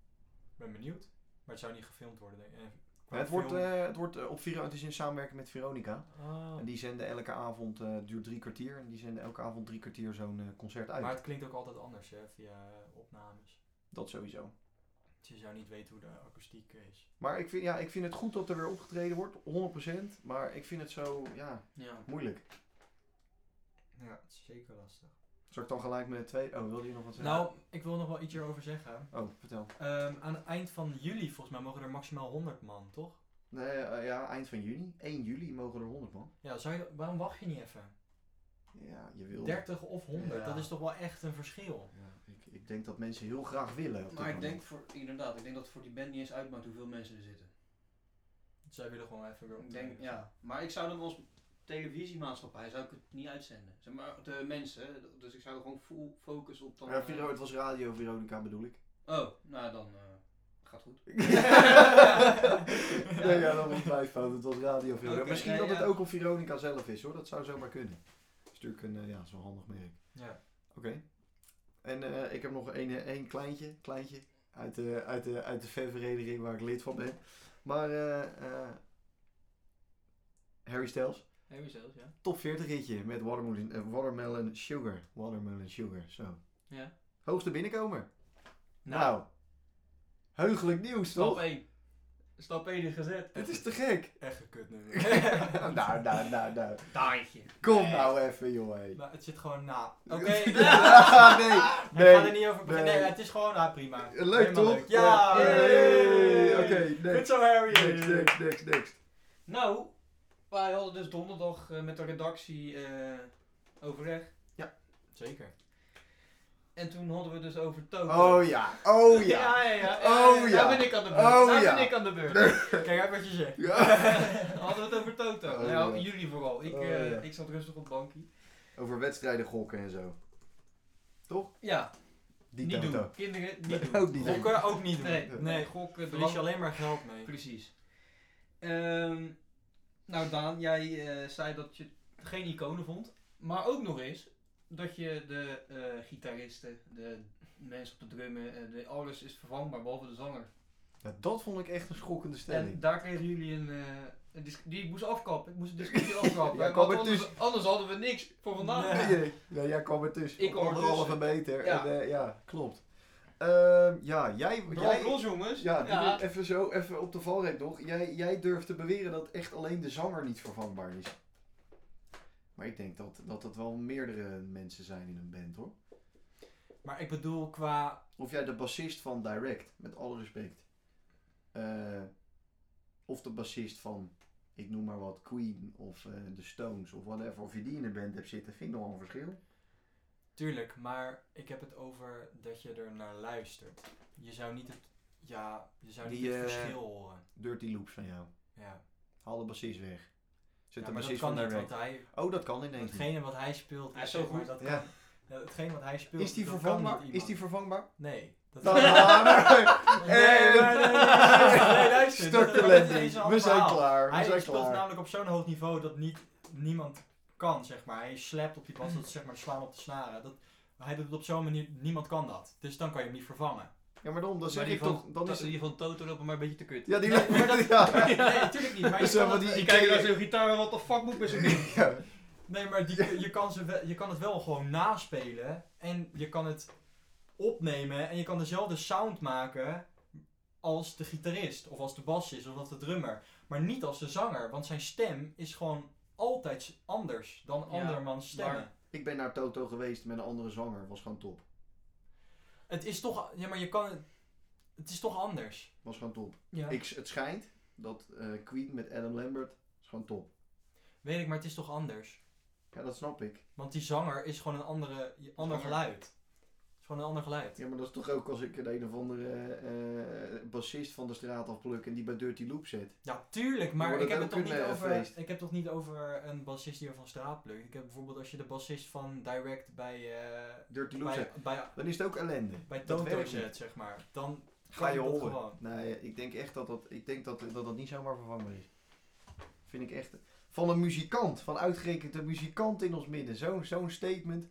[SPEAKER 1] ben benieuwd. Maar het zou niet gefilmd worden. Denk ik. Eh, qua
[SPEAKER 2] Maar het wordt,
[SPEAKER 1] film-
[SPEAKER 2] eh, het wordt eh, op Vero, het is in samenwerking met Veronica.
[SPEAKER 3] Oh.
[SPEAKER 1] Ah.
[SPEAKER 2] En die zenden elke avond, eh, het duurt drie kwartier. En die zenden elke avond drie kwartier zo'n eh, concert uit.
[SPEAKER 1] Maar het klinkt ook altijd anders hè, via eh, opnames.
[SPEAKER 2] Dat sowieso.
[SPEAKER 1] Dus je zou niet weten hoe de akoestiek is.
[SPEAKER 2] Maar ik vind, ja, ik vind het goed dat er weer opgetreden wordt, 100%. Maar ik vind het zo, ja,
[SPEAKER 3] Ja.
[SPEAKER 2] moeilijk.
[SPEAKER 1] Ja, het is zeker lastig.
[SPEAKER 2] Zal ik dan gelijk met de tweede... Oh, wilde je nog wat zeggen?
[SPEAKER 1] Nou, ik wil nog wel iets hierover zeggen.
[SPEAKER 2] Oh, vertel.
[SPEAKER 1] Ehm, aan het eind van juli, volgens mij, mogen er maximaal 100 man, toch?
[SPEAKER 2] Nee, eh, ja, eind van juni. 1 juli mogen er 100 man.
[SPEAKER 1] Ja, zou je, waarom wacht je niet even?
[SPEAKER 2] Ja, je wil.
[SPEAKER 1] 30 of 100,
[SPEAKER 2] Ja.
[SPEAKER 1] dat is toch wel echt een verschil.
[SPEAKER 2] Ja, ik, ik denk dat mensen heel graag willen. op dit
[SPEAKER 3] Maar Nou, ik
[SPEAKER 2] moment.
[SPEAKER 3] denk voor, inderdaad, ik denk dat het voor die band niet eens uitmaakt hoeveel mensen er zitten.
[SPEAKER 1] Zij willen gewoon even weer
[SPEAKER 3] Ik
[SPEAKER 1] optreden.
[SPEAKER 3] denk, ja. Maar ik zou dan als televisiemaatschappij zou ik het niet uitzenden. Zeg maar de mensen, dus ik zou er gewoon full focus op dan...
[SPEAKER 2] Ja,
[SPEAKER 3] eh,
[SPEAKER 2] Vero, het was Radio Veronica bedoel ik.
[SPEAKER 3] Oh, nou dan eh, gaat goed.
[SPEAKER 2] nee, ja, dat was mijn fout. Het was Radio Veronica.
[SPEAKER 3] Oké,
[SPEAKER 2] Misschien
[SPEAKER 3] nee,
[SPEAKER 2] dat
[SPEAKER 3] ja.
[SPEAKER 2] het ook op Veronica zelf is hoor. Dat zou zomaar kunnen. Dat is natuurlijk een, eh, ja, zo'n handig merk.
[SPEAKER 1] Ja.
[SPEAKER 2] Oké. En eh, ik heb nog één eh, één kleintje, kleintje uit, de, uit, de, uit de fanvereniging waar ik lid van ben. Maar eh, eh, Harry Styles.
[SPEAKER 3] Harry zelfs, ja.
[SPEAKER 2] Top 40 ritje met watermelon, eh, watermelon sugar. Watermelon sugar, zo.
[SPEAKER 3] Ja.
[SPEAKER 2] Hoogste binnenkomer. Nou.
[SPEAKER 3] Nou, Oh,
[SPEAKER 2] Heugelijk nieuws,
[SPEAKER 3] stap
[SPEAKER 2] toch?
[SPEAKER 3] 1. Stap 1 is gezet.
[SPEAKER 2] Dit is te gek.
[SPEAKER 1] Echt een kut nummer.
[SPEAKER 2] nou, nou, nou, nou.
[SPEAKER 3] Daaitje.
[SPEAKER 2] Kom nou even, joh. hé.
[SPEAKER 1] Maar het zit gewoon na. Oké,
[SPEAKER 2] Ja, nee,
[SPEAKER 1] ik
[SPEAKER 2] nee,
[SPEAKER 1] ga er niet over beginnen.
[SPEAKER 2] nee.
[SPEAKER 1] Nee, het is gewoon, ah prima.
[SPEAKER 2] Leuk
[SPEAKER 1] Helemaal
[SPEAKER 2] toch?
[SPEAKER 1] leuk. Ja!
[SPEAKER 2] Hey,
[SPEAKER 1] Hey.
[SPEAKER 2] Oké,
[SPEAKER 1] Goed
[SPEAKER 2] next.
[SPEAKER 1] zo, Harry!
[SPEAKER 2] Next, next, next, next.
[SPEAKER 3] Nou, wij hadden dus donderdag eh, met de redactie eh, overleg.
[SPEAKER 1] Zeker.
[SPEAKER 3] En toen hadden we dus over Toto.
[SPEAKER 2] Oh ja, oh ja.
[SPEAKER 3] ja, ja, ja.
[SPEAKER 2] Oh,
[SPEAKER 3] Eh,
[SPEAKER 2] ja.
[SPEAKER 3] Daar ben ik aan de beurt.
[SPEAKER 2] Oh,
[SPEAKER 3] daar
[SPEAKER 2] ja.
[SPEAKER 3] ben ik aan de beurt.
[SPEAKER 1] Kijk uit wat je zegt.
[SPEAKER 2] Ja.
[SPEAKER 3] hadden we het over Toto.
[SPEAKER 2] Oh,
[SPEAKER 3] nou,
[SPEAKER 2] ja.
[SPEAKER 3] jullie vooral. Ik,
[SPEAKER 2] Oh,
[SPEAKER 3] eh,
[SPEAKER 2] ja.
[SPEAKER 3] ik zat rustig op het bankje.
[SPEAKER 2] Over wedstrijden gokken en zo.
[SPEAKER 3] Ja,
[SPEAKER 2] Die
[SPEAKER 3] niet
[SPEAKER 2] toto.
[SPEAKER 3] doen. Kinderen, niet doen.
[SPEAKER 2] Ook niet doen.
[SPEAKER 1] Gokken ook niet doen.
[SPEAKER 3] Nee, nee,
[SPEAKER 1] nee.
[SPEAKER 3] gokken,
[SPEAKER 1] Verlies
[SPEAKER 3] dwang-
[SPEAKER 1] je alleen maar geld mee.
[SPEAKER 3] Precies. Ehm, nou Daan, jij eh, zei dat je geen iconen vond. Maar ook nog eens dat je de eh, gitaristen, de mensen op de drummen, eh, de, alles is vervangbaar behalve de zanger.
[SPEAKER 2] Nou, dat vond ik echt een schokkende
[SPEAKER 3] En
[SPEAKER 2] stelling.
[SPEAKER 3] daar kregen jullie een... eh, een dis- die ik moest afkappen. Ik moest de discussie afkappen.
[SPEAKER 2] Ja,
[SPEAKER 3] want
[SPEAKER 2] kom er
[SPEAKER 3] anders, anders hadden we niks voor vandaag.
[SPEAKER 1] Nee.
[SPEAKER 2] Nee, ja, jij kwam ertussen.
[SPEAKER 3] Ik kwam
[SPEAKER 2] Anderhalve
[SPEAKER 3] ertussen.
[SPEAKER 2] meter.
[SPEAKER 3] Ja.
[SPEAKER 2] Ja, en, eh, ja klopt. Ehm, ja, jij...
[SPEAKER 3] Brand
[SPEAKER 2] jij
[SPEAKER 3] los jongens.
[SPEAKER 2] ja, doe dit even zo, even op de valreep nog. Jij, jij durft te beweren dat echt alleen de zanger niet vervangbaar is. Maar ik denk dat dat, dat wel meerdere mensen zijn in een band hoor.
[SPEAKER 1] Maar ik bedoel qua...
[SPEAKER 2] Of jij de bassist van Direct, met alle respect. eh, of de bassist van, ik noem maar wat, Queen of eh The Stones of whatever. Of je die in een band hebt zitten, vind ik nogal een verschil.
[SPEAKER 1] Tuurlijk, maar ik heb het over dat je er naar luistert. Je zou niet het... Ja, je zou niet
[SPEAKER 2] Die,
[SPEAKER 1] het
[SPEAKER 2] eh,
[SPEAKER 1] verschil horen.
[SPEAKER 2] Dirty Loops van jou.
[SPEAKER 1] Ja,
[SPEAKER 2] Haal de bassist weg. Zet
[SPEAKER 1] ja
[SPEAKER 2] de
[SPEAKER 1] maar dat
[SPEAKER 2] bassist
[SPEAKER 1] kan
[SPEAKER 2] van
[SPEAKER 1] niet,
[SPEAKER 2] Direct.
[SPEAKER 1] want hij...
[SPEAKER 2] Oh, dat kan ineens niet.
[SPEAKER 1] Hetgene wat hij speelt...
[SPEAKER 3] Hij is zo
[SPEAKER 1] zeg maar,
[SPEAKER 3] goed.
[SPEAKER 1] Dat
[SPEAKER 2] Ja.
[SPEAKER 1] kan, hetgene wat hij speelt...
[SPEAKER 2] Is die
[SPEAKER 1] dat kan
[SPEAKER 2] vervangbaar?
[SPEAKER 1] niet
[SPEAKER 2] Is die
[SPEAKER 1] iemand.
[SPEAKER 2] vervangbaar?
[SPEAKER 1] Nee. Dat
[SPEAKER 2] Dan maar.
[SPEAKER 1] nee, nee, nee, nee, nee, luister, dat-
[SPEAKER 2] Start nou. de
[SPEAKER 1] dat is
[SPEAKER 2] landing.
[SPEAKER 1] een ander
[SPEAKER 2] We zijn
[SPEAKER 1] verhaal.
[SPEAKER 2] klaar. We
[SPEAKER 1] Hij
[SPEAKER 2] zijn
[SPEAKER 1] speelt
[SPEAKER 2] klaar.
[SPEAKER 1] namelijk op zo'n hoog niveau dat niet, niemand kan, zeg maar. Hij slept op die bas, dat is zeg maar slaan op de snaren. Dat, hij doet het op zo'n manier, niemand kan dat. Dus dan kan je hem niet vervangen.
[SPEAKER 2] Ja, maar dan, dan zeg
[SPEAKER 3] Maar die
[SPEAKER 2] ik
[SPEAKER 3] van,
[SPEAKER 2] toch... Dan is het-
[SPEAKER 3] die van Toto lopen maar een beetje te kut.
[SPEAKER 2] Ja, die
[SPEAKER 1] Nee, maar dat-
[SPEAKER 2] ja.
[SPEAKER 1] Nee, natuurlijk niet. Maar
[SPEAKER 2] Dus,
[SPEAKER 1] je
[SPEAKER 2] eh,
[SPEAKER 1] kan
[SPEAKER 2] wat
[SPEAKER 1] het-
[SPEAKER 2] die-
[SPEAKER 3] Die kijken naar zo'n gitaar en wat de fuck moet ik met zo'n ding?
[SPEAKER 2] Ja.
[SPEAKER 1] nee, maar die, je, kan ze wel, je kan het wel gewoon naspelen. En je kan het opnemen. En je kan dezelfde sound maken als de gitarist. Of als de bassist. Of als de drummer. Maar niet als de zanger. Want zijn stem is gewoon altijd anders dan
[SPEAKER 3] Ja,
[SPEAKER 1] andermans stemmen.
[SPEAKER 3] maar-
[SPEAKER 2] Ik ben naar Toto geweest met een andere zanger. Was gewoon top.
[SPEAKER 1] Het is toch... Ja, maar je kan... het- Het is toch anders.
[SPEAKER 2] Was gewoon top.
[SPEAKER 1] Ja.
[SPEAKER 2] Ik, het schijnt dat eh, Queen met Adam Lambert is gewoon top.
[SPEAKER 1] Weet ik, maar het is toch anders.
[SPEAKER 2] Ja, dat snap ik.
[SPEAKER 1] Want die zanger is gewoon een andere, ander
[SPEAKER 3] Zanger.
[SPEAKER 1] geluid. Het is gewoon een ander geluid.
[SPEAKER 2] Ja, maar dat is toch ook als ik een, een of andere eh, eh, bassist van de straat afpluk en die bij Dirty Loop zet.
[SPEAKER 1] Ja, tuurlijk, maar
[SPEAKER 2] wordt
[SPEAKER 1] ik
[SPEAKER 2] het
[SPEAKER 1] heb, het
[SPEAKER 2] ook
[SPEAKER 1] toch niet
[SPEAKER 2] een, eh,
[SPEAKER 1] over,
[SPEAKER 2] feest.
[SPEAKER 1] ik heb toch niet over een bassist die er van straat plukt. Ik heb bijvoorbeeld als je de bassist van Direct bij, eh
[SPEAKER 2] Dirty Loop
[SPEAKER 1] bij,
[SPEAKER 2] zet.
[SPEAKER 1] bij,
[SPEAKER 2] Dan is het ook ellende.
[SPEAKER 1] bij
[SPEAKER 2] Dat
[SPEAKER 1] Toto
[SPEAKER 2] werkt
[SPEAKER 1] zet,
[SPEAKER 2] niet.
[SPEAKER 1] zeg maar. Dan
[SPEAKER 2] Ga je
[SPEAKER 1] kan dat
[SPEAKER 2] horen.
[SPEAKER 1] gewoon.
[SPEAKER 2] Nee, ik denk echt dat dat, ik denk dat, dat dat niet zomaar vervangbaar is. Vind ik echt. Van een muzikant, van uitgerekend een muzikant in ons midden. Zo'n zo'n statement.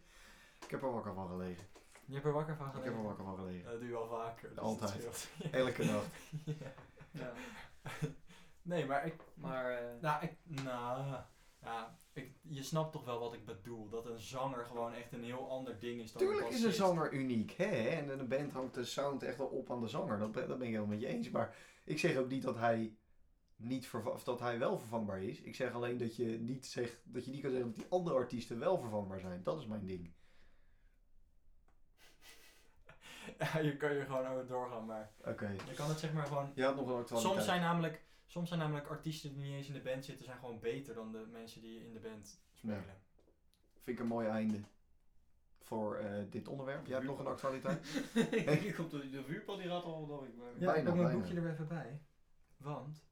[SPEAKER 2] Ik heb er wakker van gelegen.
[SPEAKER 1] Je hebt er wakker van
[SPEAKER 2] Ik
[SPEAKER 1] gelegen.
[SPEAKER 2] heb er wakker van gelegen.
[SPEAKER 1] Dat doe je al vaker. dus dat
[SPEAKER 2] Altijd.
[SPEAKER 1] scheelt.
[SPEAKER 2] Elke nacht.
[SPEAKER 1] Ja.
[SPEAKER 3] Ja.
[SPEAKER 1] Nee, maar ik...
[SPEAKER 3] Maar eh,
[SPEAKER 1] Nou, ik, nou, ja, ik, je snapt toch wel wat ik bedoel. Dat een zanger gewoon echt een heel ander ding is dan
[SPEAKER 2] Tuurlijk
[SPEAKER 1] een
[SPEAKER 2] is een
[SPEAKER 1] bassist.
[SPEAKER 2] zanger uniek, hè? En een band hangt de sound echt wel op aan de zanger. Dat ben, dat ben ik helemaal met je eens. Maar ik zeg ook niet dat hij, niet verva- of dat hij wel vervangbaar is. Ik zeg alleen dat je niet, zegt, dat je niet kan zeggen dat die andere artiesten wel vervangbaar zijn. Dat is mijn ding.
[SPEAKER 1] Ja, je kan je gewoon over doorgaan, maar
[SPEAKER 2] Oké.
[SPEAKER 1] je kan het zeg maar gewoon...
[SPEAKER 2] Je had nog een actualiteit.
[SPEAKER 1] Soms zijn, namelijk, soms zijn namelijk artiesten die niet eens in de band zitten, zijn gewoon beter dan de mensen die in de band spelen.
[SPEAKER 2] Vind ik een mooi einde voor eh, dit onderwerp. Jij hebt nog een actualiteit?
[SPEAKER 3] ik op de, de vuurpad die raadt al door ik. Maar...
[SPEAKER 2] Ja, ik pak mijn
[SPEAKER 1] mijn
[SPEAKER 2] boekje
[SPEAKER 1] boekje er even bij. Want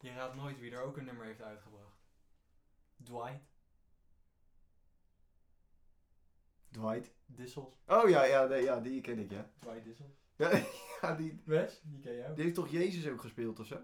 [SPEAKER 1] je raadt nooit wie er ook een nummer heeft uitgebracht. Dwight
[SPEAKER 2] Dwight.
[SPEAKER 1] Dissels.
[SPEAKER 2] Oh ja, ja, nee, ja die ken ik, ja.
[SPEAKER 1] Dwight Dissels.
[SPEAKER 2] Ja, ja, die,
[SPEAKER 1] Wes, die ken jij ook.
[SPEAKER 2] die heeft toch Jezus ook gespeeld of zo?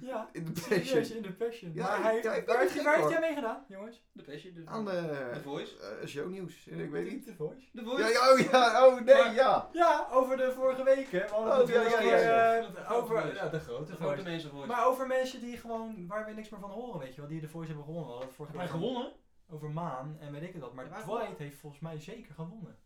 [SPEAKER 1] Ja,
[SPEAKER 2] In de
[SPEAKER 1] serieus
[SPEAKER 2] Passion.
[SPEAKER 1] in de passion. maar
[SPEAKER 2] Ja, ik-
[SPEAKER 1] hij,
[SPEAKER 2] ja, ik ben
[SPEAKER 1] waar, heeft,
[SPEAKER 2] gek,
[SPEAKER 1] waar heeft
[SPEAKER 2] hoor.
[SPEAKER 1] jij mee gedaan, jongens?
[SPEAKER 3] De passion, de
[SPEAKER 2] Aan
[SPEAKER 3] The
[SPEAKER 2] de
[SPEAKER 3] Voice.
[SPEAKER 2] eh, shownieuws. Ik weet niet.
[SPEAKER 1] The Voice.
[SPEAKER 3] De
[SPEAKER 2] Ja,
[SPEAKER 3] Voice.
[SPEAKER 2] ja, oh ja, oh nee,
[SPEAKER 3] Maar-
[SPEAKER 2] ja.
[SPEAKER 1] Ja, over de vorige week, hè? We hadden
[SPEAKER 2] Oh,
[SPEAKER 1] het
[SPEAKER 2] ja, ja,
[SPEAKER 1] over,
[SPEAKER 2] ja, ja.
[SPEAKER 1] eh, over ja, de grote
[SPEAKER 3] De
[SPEAKER 1] Voice.
[SPEAKER 3] grote mensen Voice.
[SPEAKER 1] Maar over mensen die gewoon, waar we niks meer van horen, weet je wel, die de Voice hebben gewonnen. We hadden het vorige
[SPEAKER 3] Heb hij
[SPEAKER 1] keer
[SPEAKER 3] gewonnen?
[SPEAKER 1] Over Maan en weet ik het wat. Maar
[SPEAKER 3] Ja, maar-
[SPEAKER 1] Dwight heeft volgens mij zeker gewonnen.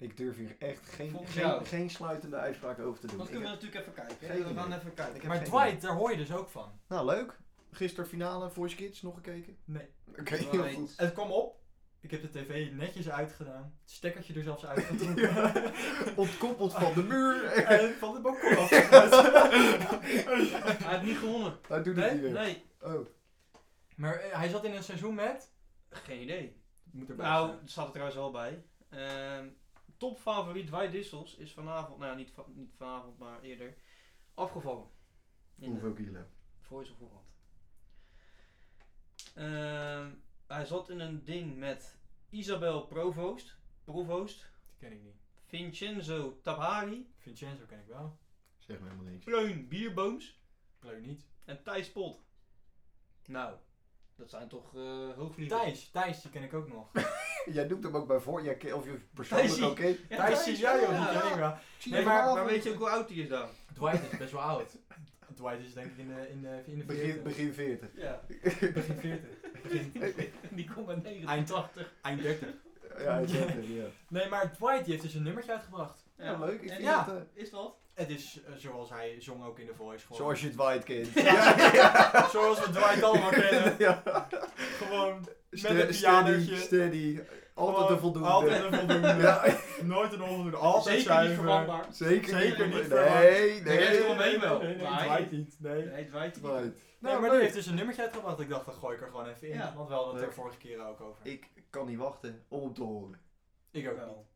[SPEAKER 2] Ik durf hier echt geen,
[SPEAKER 3] Volgens
[SPEAKER 2] geen,
[SPEAKER 3] jou.
[SPEAKER 2] geen sluitende uitspraak over te doen.
[SPEAKER 3] Dat
[SPEAKER 2] Ik
[SPEAKER 3] kunnen we
[SPEAKER 2] heb-
[SPEAKER 3] natuurlijk even kijken.
[SPEAKER 2] Geen
[SPEAKER 3] hè. We gaan
[SPEAKER 2] idee.
[SPEAKER 3] even
[SPEAKER 2] Ik
[SPEAKER 3] kijken.
[SPEAKER 2] heb
[SPEAKER 1] Maar
[SPEAKER 2] geen
[SPEAKER 1] Dwight, daar hoor je dus ook van.
[SPEAKER 2] idee. Nou, leuk. Gisteren finale Voice Kids nog gekeken.
[SPEAKER 1] Nee.
[SPEAKER 2] Oké, heel
[SPEAKER 3] Dwight.
[SPEAKER 2] goed.
[SPEAKER 1] Het kwam op. Ik heb de tv netjes uitgedaan. Het stekkertje er zelfs uitgetrokken.
[SPEAKER 2] Ja. Ontkoppeld van de muur.
[SPEAKER 1] En van de balkon
[SPEAKER 2] Oh.
[SPEAKER 1] af.
[SPEAKER 3] Hij heeft niet gewonnen.
[SPEAKER 2] Hij doet het
[SPEAKER 1] Nee?
[SPEAKER 2] niet weer.
[SPEAKER 3] Nee.
[SPEAKER 2] Oh.
[SPEAKER 1] maar eh, hij zat in een seizoen met...
[SPEAKER 3] Geen idee.
[SPEAKER 1] Moet erbij
[SPEAKER 3] Nou,
[SPEAKER 1] staan.
[SPEAKER 3] er staat er trouwens wel bij. Ehm topfavoriet Dwight Dissels is vanavond, nou niet, va- niet vanavond, maar eerder, afgevallen. In de
[SPEAKER 2] Hoeveel kilo?
[SPEAKER 3] Voice of Holland. Ehm, hij zat in een ding met Isabel Provoost. Provoost
[SPEAKER 1] Dat ken ik niet.
[SPEAKER 3] Vincenzo Tabari,
[SPEAKER 1] Vincenzo ken ik wel.
[SPEAKER 2] Zeg me helemaal niks.
[SPEAKER 3] Pleun Bierbooms
[SPEAKER 1] Pleu niet.
[SPEAKER 3] en Thijs Pot. Nou, dat zijn toch eh hoogvliegers.
[SPEAKER 1] Thijs, Thijs, die ken ik ook nog.
[SPEAKER 2] Jij doet hem ook bij voor. Jij, ke- of je persoonlijk
[SPEAKER 3] Thijsie.
[SPEAKER 2] ook kent.
[SPEAKER 3] Ja,
[SPEAKER 1] Thijs zie jij ook
[SPEAKER 3] ja.
[SPEAKER 1] niet, ken ik wel.
[SPEAKER 2] Ik zie
[SPEAKER 1] Nee,
[SPEAKER 2] je
[SPEAKER 1] maar-
[SPEAKER 2] vanavond.
[SPEAKER 3] Maar weet je ook hoe oud hij is dan?
[SPEAKER 1] Dwight is best wel oud. Dwight is denk ik in de, in de, in de
[SPEAKER 2] Begin,
[SPEAKER 1] 40.
[SPEAKER 2] begin 40.
[SPEAKER 3] Ja,
[SPEAKER 1] Begin 40.
[SPEAKER 3] die komt met 89.
[SPEAKER 1] Eind 80. Eind 30.
[SPEAKER 2] Ja, ik denk het, ja.
[SPEAKER 1] Nee, maar Dwight die heeft dus een nummertje uitgebracht.
[SPEAKER 2] Nou, leuk. Ik
[SPEAKER 3] En
[SPEAKER 2] vind
[SPEAKER 1] ja.
[SPEAKER 2] het, eh,
[SPEAKER 3] Is wat?
[SPEAKER 1] Het is eh, zoals hij zong ook in The Voice. Gewoon.
[SPEAKER 2] zoals je Dwight kent.
[SPEAKER 1] Ja, zoals we Dwight allemaal kennen.
[SPEAKER 2] Ja.
[SPEAKER 1] Gewoon
[SPEAKER 2] Ste-
[SPEAKER 1] een pianootje.
[SPEAKER 2] steady, steady. Altijd
[SPEAKER 1] Gewoon
[SPEAKER 2] een voldoende.
[SPEAKER 1] Altijd een voldoende.
[SPEAKER 2] Ja,
[SPEAKER 1] Nooit een onvoldoende. Altijd
[SPEAKER 3] Zeker niet
[SPEAKER 1] zuiver.
[SPEAKER 3] verwantbaar.
[SPEAKER 2] zeker,
[SPEAKER 1] Zeker
[SPEAKER 2] niet.
[SPEAKER 1] niet verwacht.
[SPEAKER 2] Nee,
[SPEAKER 1] Nee,
[SPEAKER 2] nee.
[SPEAKER 3] rest eromheen wel.
[SPEAKER 1] Nee, nee, nee,
[SPEAKER 3] Maar hij-
[SPEAKER 1] Dwight niet. Nee.
[SPEAKER 3] Nee, het waait
[SPEAKER 2] Dwight.
[SPEAKER 3] niet.
[SPEAKER 1] Nee,
[SPEAKER 2] Nou,
[SPEAKER 1] maar die
[SPEAKER 2] leuk.
[SPEAKER 1] heeft dus een nummertje uitgebracht. Ik dacht, dan gooi ik er gewoon even in.
[SPEAKER 3] Ja.
[SPEAKER 1] Want we hadden het
[SPEAKER 2] Leuk.
[SPEAKER 1] er vorige keer ook over.
[SPEAKER 2] Ik kan niet wachten om hem te horen.
[SPEAKER 1] Ik ook niet.
[SPEAKER 3] Wel.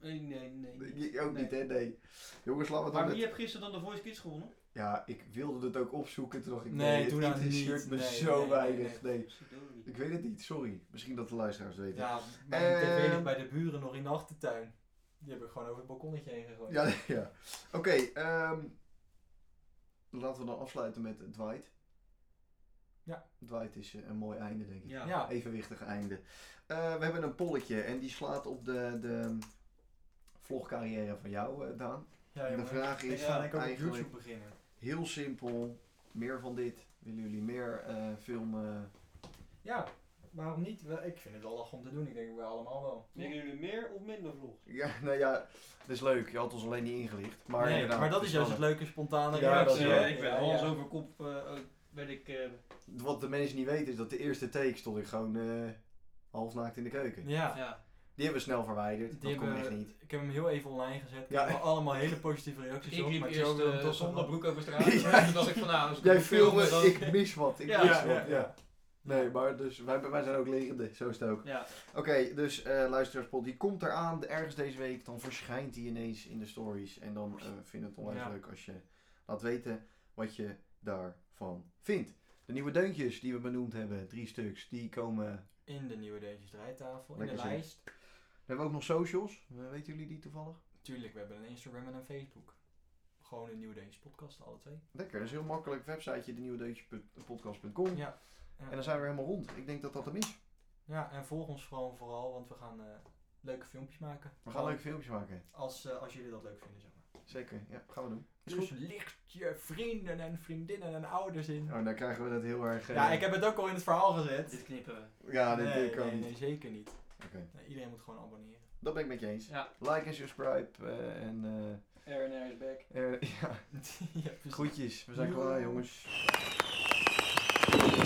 [SPEAKER 3] Nee, nee, nee.
[SPEAKER 2] Ik- Ook
[SPEAKER 3] Nee.
[SPEAKER 2] niet, hè? Nee. Jongens, laten we het
[SPEAKER 3] Maar
[SPEAKER 2] dan
[SPEAKER 3] wie
[SPEAKER 2] met...
[SPEAKER 3] heeft gisteren dan de Voice Kids gewonnen?
[SPEAKER 2] Ja, ik wilde het ook opzoeken. Toen dacht ik,
[SPEAKER 1] Nee,
[SPEAKER 2] nee,
[SPEAKER 1] doe
[SPEAKER 2] het
[SPEAKER 1] nou
[SPEAKER 2] interesseert
[SPEAKER 1] niet.
[SPEAKER 2] me
[SPEAKER 1] Nee,
[SPEAKER 2] zo
[SPEAKER 1] nee, nee,
[SPEAKER 2] weinig. Nee,
[SPEAKER 3] Verdorie.
[SPEAKER 2] Ik weet het niet, sorry. Misschien dat de luisteraars het weten.
[SPEAKER 1] Ja, mijn tv
[SPEAKER 2] Ehm.
[SPEAKER 1] ligt bij de buren nog in de achtertuin. Die heb ik gewoon over het balkonnetje heen gegooid.
[SPEAKER 2] Ja, ja. Oké, ehm, laten we dan afsluiten met Dwight.
[SPEAKER 1] Ja.
[SPEAKER 2] Dwight is eh, een mooi einde, denk ik.
[SPEAKER 3] Ja.
[SPEAKER 1] Ja.
[SPEAKER 2] Evenwichtig einde. Eh, we hebben een polletje en die slaat op de, de vlogcarrière van jou, eh, Daan.
[SPEAKER 1] Ja,
[SPEAKER 2] de
[SPEAKER 1] jongen.
[SPEAKER 2] vraag
[SPEAKER 1] Ik
[SPEAKER 2] is
[SPEAKER 1] ga denk ik ook op
[SPEAKER 2] eigenlijk
[SPEAKER 1] YouTube beginnen.
[SPEAKER 2] heel simpel. Meer van dit. Willen jullie meer eh, filmen?
[SPEAKER 1] Ja, waarom niet? Wel, Ik vind het wel lach om te doen. Ik denk we allemaal wel.
[SPEAKER 3] Denken jullie meer of minder vlogs?
[SPEAKER 2] Ja, nou ja, dat is leuk. Je had ons alleen niet ingelicht. Maar,
[SPEAKER 1] nee,
[SPEAKER 2] inderdaad,
[SPEAKER 1] maar dat
[SPEAKER 2] het
[SPEAKER 1] is juist het
[SPEAKER 2] wel-
[SPEAKER 1] leuke, spontane
[SPEAKER 2] Ja,
[SPEAKER 1] reactie.
[SPEAKER 2] dat is wel.
[SPEAKER 3] ik ben
[SPEAKER 1] Ja,
[SPEAKER 3] alles
[SPEAKER 1] ja.
[SPEAKER 3] over kop. eh, ook ben ik, eh,
[SPEAKER 2] Wat de mensen niet weten is dat de eerste take stond ik gewoon eh halfnaakt in de keuken.
[SPEAKER 1] Ja,
[SPEAKER 3] ja.
[SPEAKER 2] Die hebben we snel verwijderd.
[SPEAKER 1] Die
[SPEAKER 2] dat kon
[SPEAKER 1] hebben-
[SPEAKER 2] echt niet.
[SPEAKER 1] ik heb hem heel even online gezet. Ik
[SPEAKER 2] Ja.
[SPEAKER 1] heb allemaal hele positieve reacties
[SPEAKER 3] Ik
[SPEAKER 1] op.
[SPEAKER 3] liep
[SPEAKER 1] Maar
[SPEAKER 3] eerst
[SPEAKER 1] Joe,
[SPEAKER 3] eh,
[SPEAKER 1] dat
[SPEAKER 3] zonder
[SPEAKER 1] zonder
[SPEAKER 3] broek over straat.
[SPEAKER 2] Ja.
[SPEAKER 3] Toen dacht ik van nou, als ik
[SPEAKER 2] Jij
[SPEAKER 3] moet filmen,
[SPEAKER 2] filmen, ik mis wat. Ik
[SPEAKER 3] Ja,
[SPEAKER 2] mis
[SPEAKER 1] ja,
[SPEAKER 2] wat. Ja.
[SPEAKER 1] ja.
[SPEAKER 2] Nee, maar dus wij, wij zijn ook lerende. Zo is het ook.
[SPEAKER 3] Ja,
[SPEAKER 2] Oké, dus eh luisteraarspot, die komt eraan ergens deze week. Dan verschijnt die ineens in de stories. En dan eh vind het onwijs
[SPEAKER 1] Ja.
[SPEAKER 2] leuk als je laat weten wat je daarvan vindt. De nieuwe deuntjes die we benoemd hebben, drie stuks, die komen...
[SPEAKER 1] in de nieuwe Deentjes Draaitafel, in de
[SPEAKER 2] Lekker zeg.
[SPEAKER 1] lijst.
[SPEAKER 2] We hebben ook nog socials. Eh, weten jullie die toevallig?
[SPEAKER 1] Tuurlijk, we hebben een Instagram en een Facebook. Gewoon een nieuwe Deentjes podcast, alle twee.
[SPEAKER 2] Lekker, dat is heel makkelijk. Websiteje, de nieuwe podcast.com.
[SPEAKER 1] Ja. Ja.
[SPEAKER 2] En dan zijn we helemaal rond. Ik denk dat dat hem is.
[SPEAKER 1] Ja, en volg ons gewoon vooral, want we gaan eh, leuke filmpjes maken.
[SPEAKER 2] We gaan leuke filmpjes maken.
[SPEAKER 1] Als, eh, als jullie dat leuk vinden, zeg maar.
[SPEAKER 2] Zeker, ja, gaan we doen. Is
[SPEAKER 1] Dus licht je vrienden en vriendinnen en ouders in.
[SPEAKER 2] Oh, dan krijgen we dat heel erg. eh,
[SPEAKER 1] Ja, ik heb het ook al in het verhaal gezet.
[SPEAKER 3] dit knippen we.
[SPEAKER 2] Ja, dit
[SPEAKER 1] nee,
[SPEAKER 2] dit kan
[SPEAKER 1] nee,
[SPEAKER 2] niet.
[SPEAKER 1] nee, zeker niet.
[SPEAKER 2] Oké.
[SPEAKER 1] Nee, iedereen moet gewoon abonneren.
[SPEAKER 2] Dat ben ik met je eens.
[SPEAKER 3] Ja.
[SPEAKER 2] Like en subscribe. eh, en eh,
[SPEAKER 3] R&R is back.
[SPEAKER 2] eh,
[SPEAKER 1] ja,
[SPEAKER 2] ja,
[SPEAKER 1] precies.
[SPEAKER 2] groetjes. We zijn klaar, jongens.